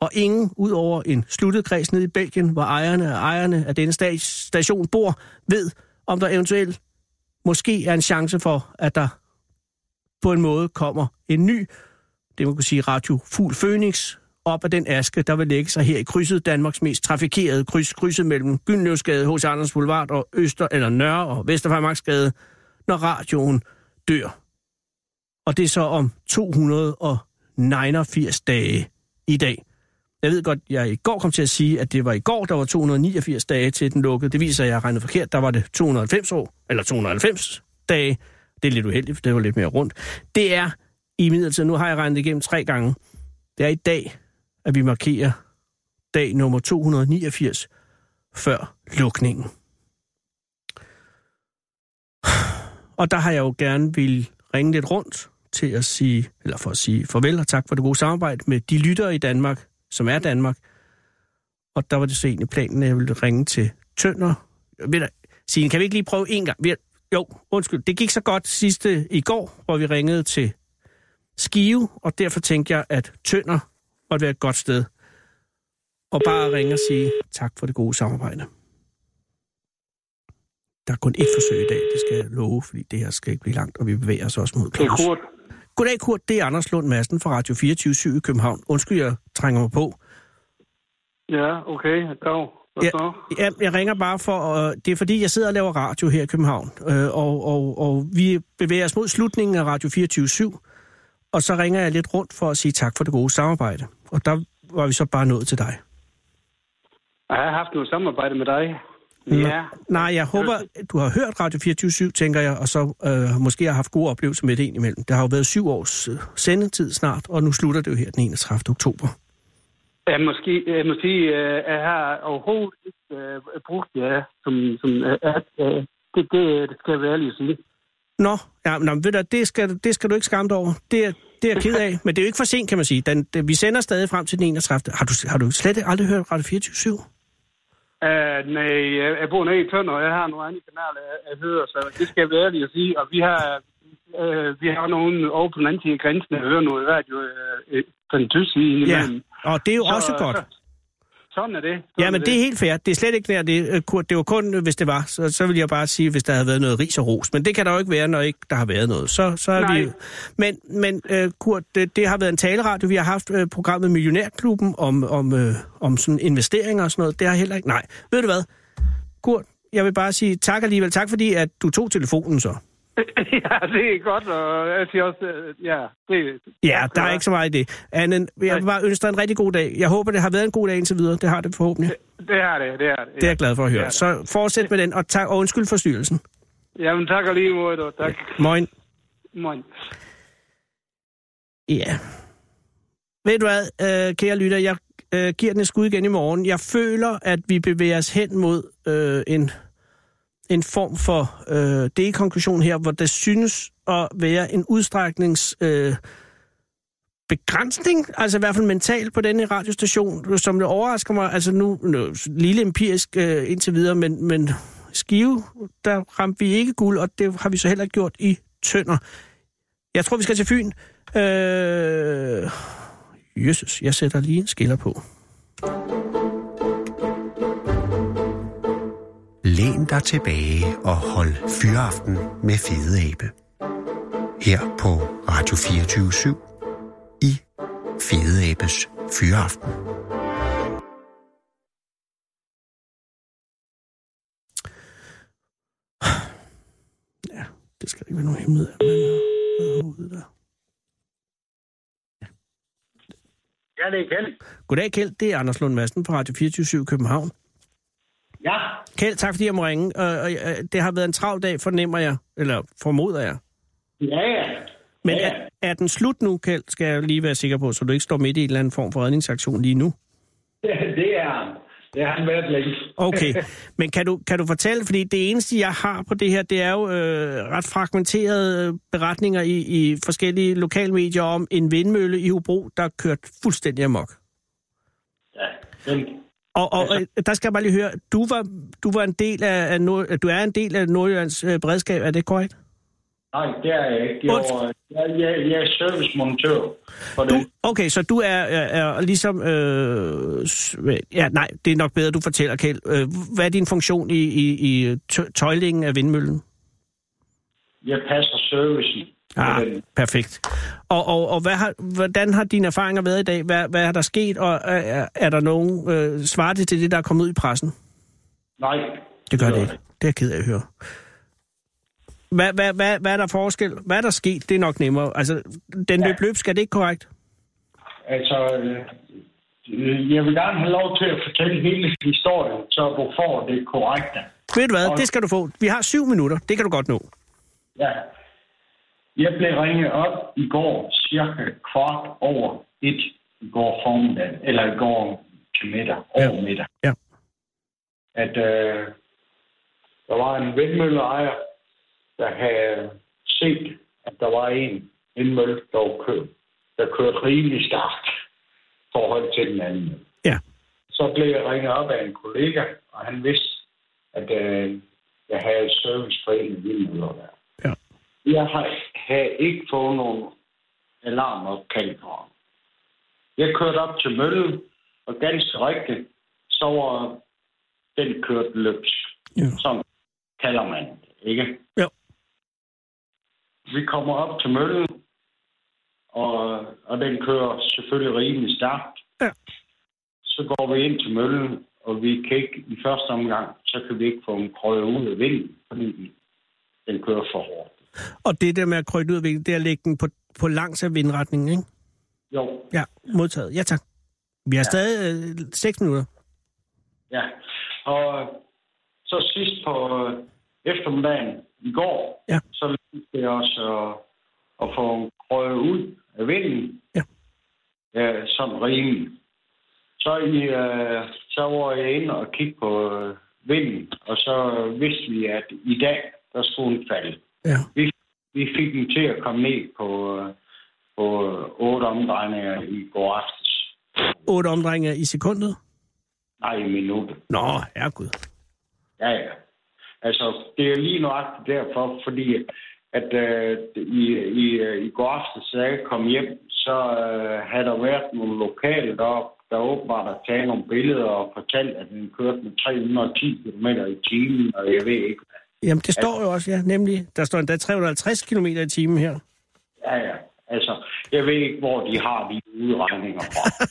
Speaker 3: Og ingen, ud over en sluttet kreds nede i Belgien, hvor ejerne og ejerne af denne sta- station bor, ved, om der eventuelt måske er en chance for, at der på en måde kommer en ny, det man kunne sige Radio Fugl Phoenix, op af den aske, der vil lægge sig her i krydset, Danmarks mest trafikerede kryds, krydset mellem Gynløvsgade, H.C. Anders Boulevard og Øster eller Nørre og Vesterfejmarksgade, når radioen dør. Og det er så om 289 dage i dag. Jeg ved godt, jeg i går kom til at sige, at det var i går, der var 289 dage til den lukkede. Det viser, at jeg regnede forkert. Der var det 290 år, eller 290 dage. Det er lidt uheldigt, for det var lidt mere rundt. Det er i midlertid, nu har jeg regnet igennem tre gange. Det er i dag, at vi markerer dag nummer 289 før lukningen. Og der har jeg jo gerne vil ringe lidt rundt til at sige, eller for at sige farvel og tak for det gode samarbejde med de lyttere i Danmark, som er Danmark. Og der var det så egentlig planen, at jeg ville ringe til Tønder. Ved du, Signe, kan vi ikke lige prøve en gang? Ved du, jo, undskyld. Det gik så godt sidste i går, hvor vi ringede til Skive, og derfor tænkte jeg, at Tønder måtte være et godt sted. Og bare ringe og sige tak for det gode samarbejde. Der er kun ét forsøg i dag, det skal jeg love, fordi det her skal ikke blive langt, og vi bevæger os også mod Claus.
Speaker 6: Kurt.
Speaker 3: Goddag, Kurt. Det er Anders Lund Madsen fra Radio 24 i København. Undskyld, jeg trænger mig på.
Speaker 6: Ja, okay. Dag. Hvad
Speaker 3: Ja.
Speaker 6: så?
Speaker 3: Ja, jeg ringer bare for... Øh, det er fordi, jeg sidder og laver radio her i København, øh, og, og, og vi bevæger os mod slutningen af Radio 24 og så ringer jeg lidt rundt for at sige tak for det gode samarbejde. Og der var vi så bare nået til dig.
Speaker 6: Jeg har haft noget samarbejde med dig.
Speaker 3: Mm.
Speaker 6: Ja.
Speaker 3: Nej, jeg håber, du har hørt Radio 24 tænker jeg, og så øh, måske har haft gode oplevelser med det indimellem. Der har jo været syv års øh, sendetid snart, og nu slutter det jo her den 31. oktober.
Speaker 6: Jeg måske, jeg må sige, øh, jeg har overhovedet ikke øh, brugt jer, som, som øh, at, øh, det, det, det skal jeg være ærlig at sige.
Speaker 3: Nå, ja, men, nå, men ved du, det skal, det skal du ikke skamme dig over. Det er, det er jeg ked af, men det er jo ikke for sent, kan man sige. Den, den, vi sender stadig frem til den 31. Har du, har du slet aldrig hørt Radio 24
Speaker 6: Uh, nej, jeg, jeg bor nede i Tønder, og jeg har nogle andre kanaler, jeg, jeg hører, så det skal jeg være ærlig at sige. Og vi har, øh, vi har nogen over på den anden side af grænsen, der hører noget radio øh, øh, på den tyske side
Speaker 3: Ja,
Speaker 6: indimellem.
Speaker 3: og det er jo
Speaker 6: Så-
Speaker 3: også godt.
Speaker 6: Så, sådan er det. Sådan
Speaker 3: Ja, men
Speaker 6: er
Speaker 3: det er helt fair. Det er slet ikke der, det, øh, Kurt. Det var kun, øh, hvis det var. Så, så vil jeg bare sige, hvis der havde været noget ris og ros. Men det kan der jo ikke være, når ikke der har været noget. Så, så er
Speaker 6: Nej.
Speaker 3: vi... Men, men øh, Kurt, det, det har været en taleradio. Vi har haft øh, programmet Millionærklubben om, om, øh, om sådan investeringer og sådan noget. Det har heller ikke... Nej. Ved du hvad? Kurt, jeg vil bare sige tak alligevel. Tak fordi, at du tog telefonen så.
Speaker 6: ja, det er godt, og jeg siger også, øh, ja, det
Speaker 3: Ja, der er ikke så meget i det. Anden, jeg vil bare ønske dig en rigtig god dag. Jeg håber, det har været en god dag indtil videre. Det har det forhåbentlig.
Speaker 6: det er det, det er det.
Speaker 3: Det er jeg glad for at
Speaker 6: Det er
Speaker 3: høre.
Speaker 6: det.
Speaker 3: Så fortsæt med den, og, tak, og undskyld forstyrrelsen.
Speaker 6: Jamen tak og lige måde, og tak.
Speaker 3: Moin.
Speaker 6: Moin.
Speaker 3: Ja. Ved du hvad, øh, kære lytter, jeg øh, giver den et skud igen i morgen. Jeg føler, at vi bevæger os hen mod øh, en, en form for øh, delkonklusion her, hvor der synes at være en udstræknings... Øh, begrænsning, altså i hvert fald mentalt på denne radiostation, som det overrasker mig, altså nu, nu lille empirisk øh, indtil videre, men, men Skive, der ramte vi ikke guld, og det har vi så heller ikke gjort i Tønder. Jeg tror, vi skal til Fyn. Øh... Jesus, jeg sætter lige en skiller på.
Speaker 1: Læn dig tilbage og hold fyraften med Fede Abe. Her på Radio 24 i Fede Abes Fyraften.
Speaker 3: Det skal der ikke være nogen hemmelighed af, men øh, hovedet der.
Speaker 7: Ja, det er Kjeld.
Speaker 3: Goddag, Kjeld. Det er Anders Lund Madsen fra Radio 24 København.
Speaker 7: Ja,
Speaker 3: Kjeld, tak fordi jeg må ringe. Øh, og, øh, det har været en travl dag, fornemmer jeg, eller formoder jeg.
Speaker 7: ja, ja.
Speaker 3: Men
Speaker 7: Ja, ja.
Speaker 3: er, er den slut nu, Kjeld, skal jeg lige være sikker på, så du ikke står midt i en eller anden form for redningsaktion lige nu.
Speaker 7: Det er han. Det har han været længe.
Speaker 3: Okay, men kan du, kan du fortælle, fordi det eneste, jeg har på det her, det er jo øh, ret fragmenterede øh, beretninger i, i forskellige lokalmedier om en vindmølle i Hobro, der er kørt fuldstændig amok.
Speaker 7: Ja, men,
Speaker 3: Og, og øh, der skal jeg bare lige høre, du var, du var en del af, af Nord, du er en del af Nordjyllands øh, beredskab, er det korrekt?
Speaker 7: nej, det er jeg ikke. Jeg, var, jeg, jeg, jeg er servicemontør. For
Speaker 3: Du,
Speaker 7: det.
Speaker 3: okay, så du er, er, er ligesom... Øh, s- ja, nej, det er nok bedre, du fortæller, Kjeld. Øh, hvad er din funktion i, i, i tø- tøjlingen af vindmøllen?
Speaker 7: Jeg passer servicen.
Speaker 3: Ah,
Speaker 7: Men,
Speaker 3: perfekt. Og, og, og hvad har, hvordan har dine erfaringer været i dag? Hvad, hvad er der sket, og er- er, er der nogen øh, svarer det til det, der er kommet ud i pressen?
Speaker 7: nej.
Speaker 3: Det gør det ikke. Det er jeg ked af at høre. Hvad, hvad, hvad, hvad er der forskel? Hvad er der sket? Det er nok nemmere. Altså, den løb løbsk, skal det ikke korrekt?
Speaker 7: Altså, øh, øh, jeg vil gerne have lov til at fortælle hele historien, så du får det korrekte.
Speaker 3: Ved du hvad? Det skal du få. Vi har syv minutter. Det kan du godt nå.
Speaker 7: Ja. Jeg blev ringet op i går cirka kvart over et i går formiddag, eller i går til middag, over middag.
Speaker 3: Ja.
Speaker 7: At øh, der var en vindmølleejer, der havde set, at der var en vindmølle, der var kørt, der kørte rimelig stærkt i forhold til den anden.
Speaker 3: Ja.
Speaker 7: Så blev jeg ringet op af en kollega, og han vidste, at øh, jeg havde service for en af mine der.
Speaker 3: Ja.
Speaker 7: Jeg har, havde ikke fået nogen alarmopkald fra ham. Jeg kørte op til møllen, og ganske rigtigt, så var den kørt løbs.
Speaker 3: Ja.
Speaker 7: Som kalder man det, ikke?
Speaker 3: Jo.
Speaker 7: Vi kommer op til møllen, og, og den kører selvfølgelig rimelig stærkt.
Speaker 3: Ja.
Speaker 7: Så går vi ind til møllen, og vi kan ikke i første omgang, så kan vi ikke få en krøje ud af vinden, fordi den- den kører for hårdt.
Speaker 3: Og det der med at krydde ud af vinkel, det er at lægge den på, på langs af vindretningen, ikke?
Speaker 7: Jo,
Speaker 3: Ja, modtaget. Ja, tak. Vi har stadig øh, seks minutter.
Speaker 7: ja. Og Så sidst på øh, eftermiddagen i går,
Speaker 3: Ja.
Speaker 7: så lykkedes det os at, at få røget ud af vinden.
Speaker 3: Ja.
Speaker 7: Ja, sådan rimeligt. Så, i, øh, så var jeg inde og kigge på øh, vinden, og så øh, vidste vi, at i dag, der skulle den falde.
Speaker 3: Ja.
Speaker 7: Vi fik den til at komme ned på, øh, på øh, otte omdrejninger i går aftes.
Speaker 3: Otte omdrejninger i sekundet?
Speaker 7: Nej, i minuttet.
Speaker 3: Nå, herregud.
Speaker 7: Ja, ja. Altså, det er lige nøjagtigt derfor, fordi at øh, i, i, øh, i går aftes, da jeg kom hjem, så øh, havde der været nogle lokale deroppe, der åbenbart har taget nogle billeder og fortalt, at den kørte med 310 km i timen, og jeg ved ikke. hvad.
Speaker 3: Jamen, det står jo også, ja, nemlig. Der står endda 350 km i timen her.
Speaker 7: Ja, ja. Altså, jeg ved ikke, hvor de har de udregninger fra.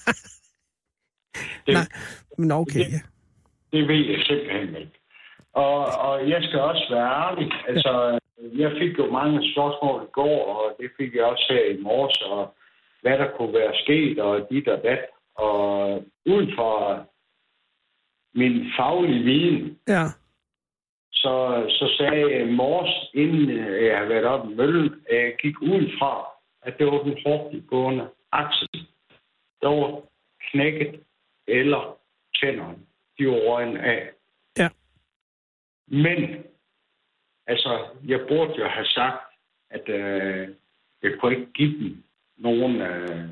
Speaker 7: det,
Speaker 3: Nej. Men okay, ja.
Speaker 7: Det ved jeg simpelthen ikke. Og, og jeg skal også være ærlig. Altså, jeg fik jo mange spørgsmål i går, og det fik jeg også her i morges, og hvad der kunne være sket, og dit og dat. Og uden for min faglige viden,
Speaker 3: Ja,
Speaker 7: så, så sagde jeg i morges, inden øh, jeg havde været oppe i møllen, at jeg gik ud fra, at det var den hurtiggående akse. Der var knækket eller tænderne. De var røgen af.
Speaker 3: Ja.
Speaker 7: Men, altså, jeg burde jo have sagt, at øh, jeg kunne ikke give dem nogen, øh,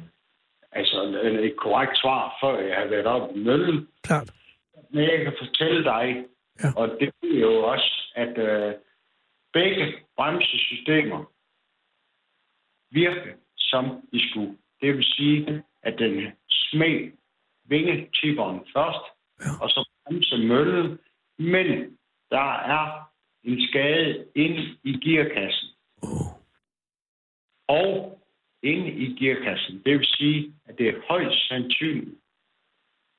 Speaker 7: altså, et- et korrekt svar, før jeg havde været oppe i møllen.
Speaker 3: klart.
Speaker 7: Men jeg kan fortælle dig,
Speaker 3: Ja.
Speaker 7: ja. og det er jo også, at øh, begge bremsesystemer virker som de skulle. Det vil sige, at den smag vingetipperen først, ja. og så bremse møllen, men der er en skade inde i gearkassen. Oh. Og inde i gearkassen, det vil sige, at det er højst sandsynligt,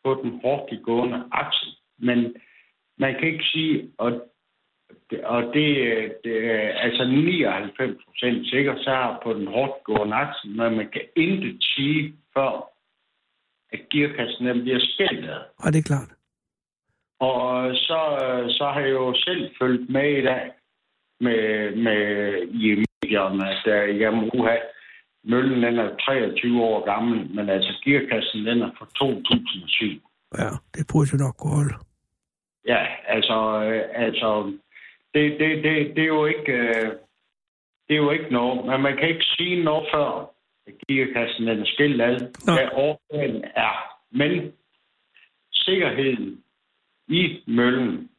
Speaker 7: på den hårdt gående akse. Men man kan ikke sige, og, og det, det er altså 99 procent sikkert, så er på den hårdt gående akse, men man kan intet sige før, at gearkassen den bliver spændt ad.
Speaker 3: Og det er klart.
Speaker 7: Og så, så har jeg jo selv fulgt med i dag med, med i medierne, at øh, jamen, uha, møllen den er 23 år gammel, men altså gearkassen den er fra 2007.
Speaker 3: Ja, det burde jo nok kunne holde.
Speaker 7: Ja, altså, øh, altså det, det, det, det, er jo ikke, øh, det er jo ikke noget. Men man kan ikke sige noget før, at gearkassen den er skilt ad,
Speaker 3: Nå.
Speaker 7: hvad årsagen er. Men sikkerheden i møllen,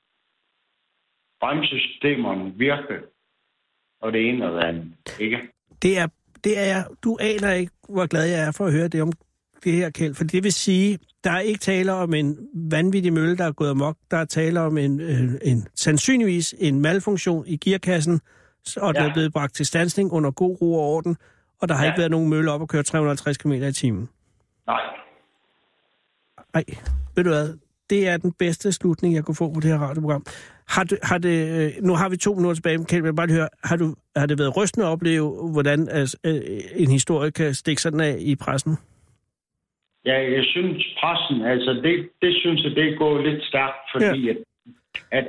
Speaker 7: bremsesystemerne virker, og det ene og det andet. Ikke?
Speaker 3: Det er, det er jeg, du aner ikke, hvor glad jeg er for at høre det om det her, Kjeld. For det vil sige, der er ikke tale om en vanvittig mølle, der er gået amok. Der er tale om en, øh, en sandsynligvis en malfunktion i gearkassen, s- og ja. den
Speaker 7: Ja.
Speaker 3: er blevet bragt til stansning under god ro og orden, og der har ja.
Speaker 7: Ja.
Speaker 3: ikke været nogen mølle op at køre 350 km i timen.
Speaker 7: Nej,
Speaker 3: Nej, ved du hvad? Det er den bedste slutning, jeg kunne få på det her radioprogram. Har du, har det, øh, nu har vi to minutter tilbage, men Kjeld, jeg vil bare lige høre, har, du, har det været rystende at opleve, hvordan altså, øh, en historie kan stikke sådan af i pressen?
Speaker 7: Ja, jeg synes pressen, altså det, det synes jeg, det går lidt stærkt, fordi ja. at, at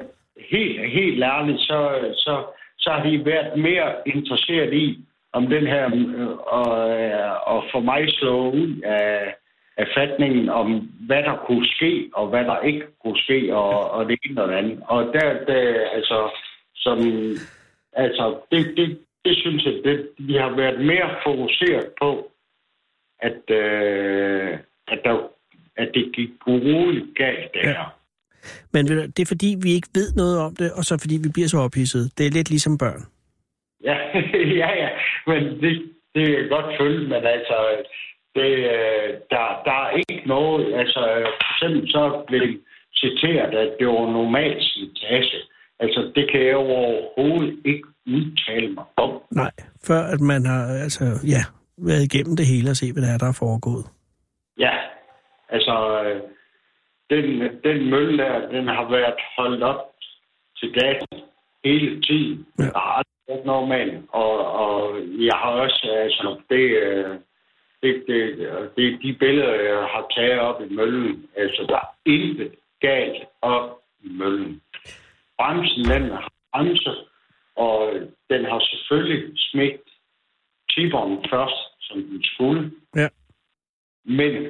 Speaker 7: helt, helt ærligt, så, så, så har de været mere interesseret i, om den her, øh, og, øh, og for mig slå ud af, af fatningen om, hvad der kunne ske, og hvad der ikke kunne ske, og, og det ene og det andet. Og der, der altså, som, altså det, det, det synes jeg, det, vi har været mere fokuseret på, at, øh, at, der, at det gik roligt galt der. Ja.
Speaker 3: Men ved du, det er fordi, vi ikke ved noget om det, og så fordi vi bliver så ophidset. Det er lidt ligesom børn.
Speaker 7: Ja, ja, ja. Men det, det er godt følge, men altså, det, øh, der, der er ikke noget, altså, for eksempel så blev det citeret, at det var normal slitage. Altså, det kan jeg jo overhovedet ikke udtale mig om.
Speaker 3: Nej, før at man har altså, ja, været igennem det hele og se, hvad der er, der er foregået.
Speaker 7: Ja, altså, øh, den, den mølle der, den har været holdt op til dagen hele tiden.
Speaker 3: Ja.
Speaker 7: Ja. Der har aldrig været noget med den. og, og jeg har også, altså, det, øh, det, det, det er de billeder, jeg har taget op i møllen. Altså, der er intet galt op i møllen. bremsen den har bremset, og den har selvfølgelig smidt tipperen først, som den skulle.
Speaker 3: Ja.
Speaker 7: Men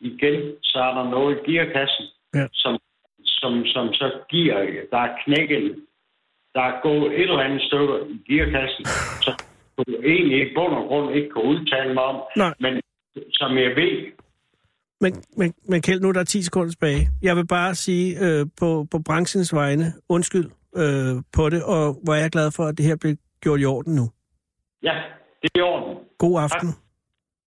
Speaker 7: igen, så er der noget i gearkassen,
Speaker 3: Ja.
Speaker 7: som, som, som så giver, der er knækken, der er gået et eller andet stykke i gearkassen, som jeg egentlig i bund og grund ikke kan udtale mig om,
Speaker 3: Nej.
Speaker 7: men som jeg ved,
Speaker 3: Men, men, men Kjeld, nu er der 10 sekunder tilbage. Jeg vil bare sige øh, på, på branchens vegne, undskyld øh, på det, og hvor er jeg glad for, at det her blev gjort i orden nu.
Speaker 7: ja, det er i orden.
Speaker 3: God aften.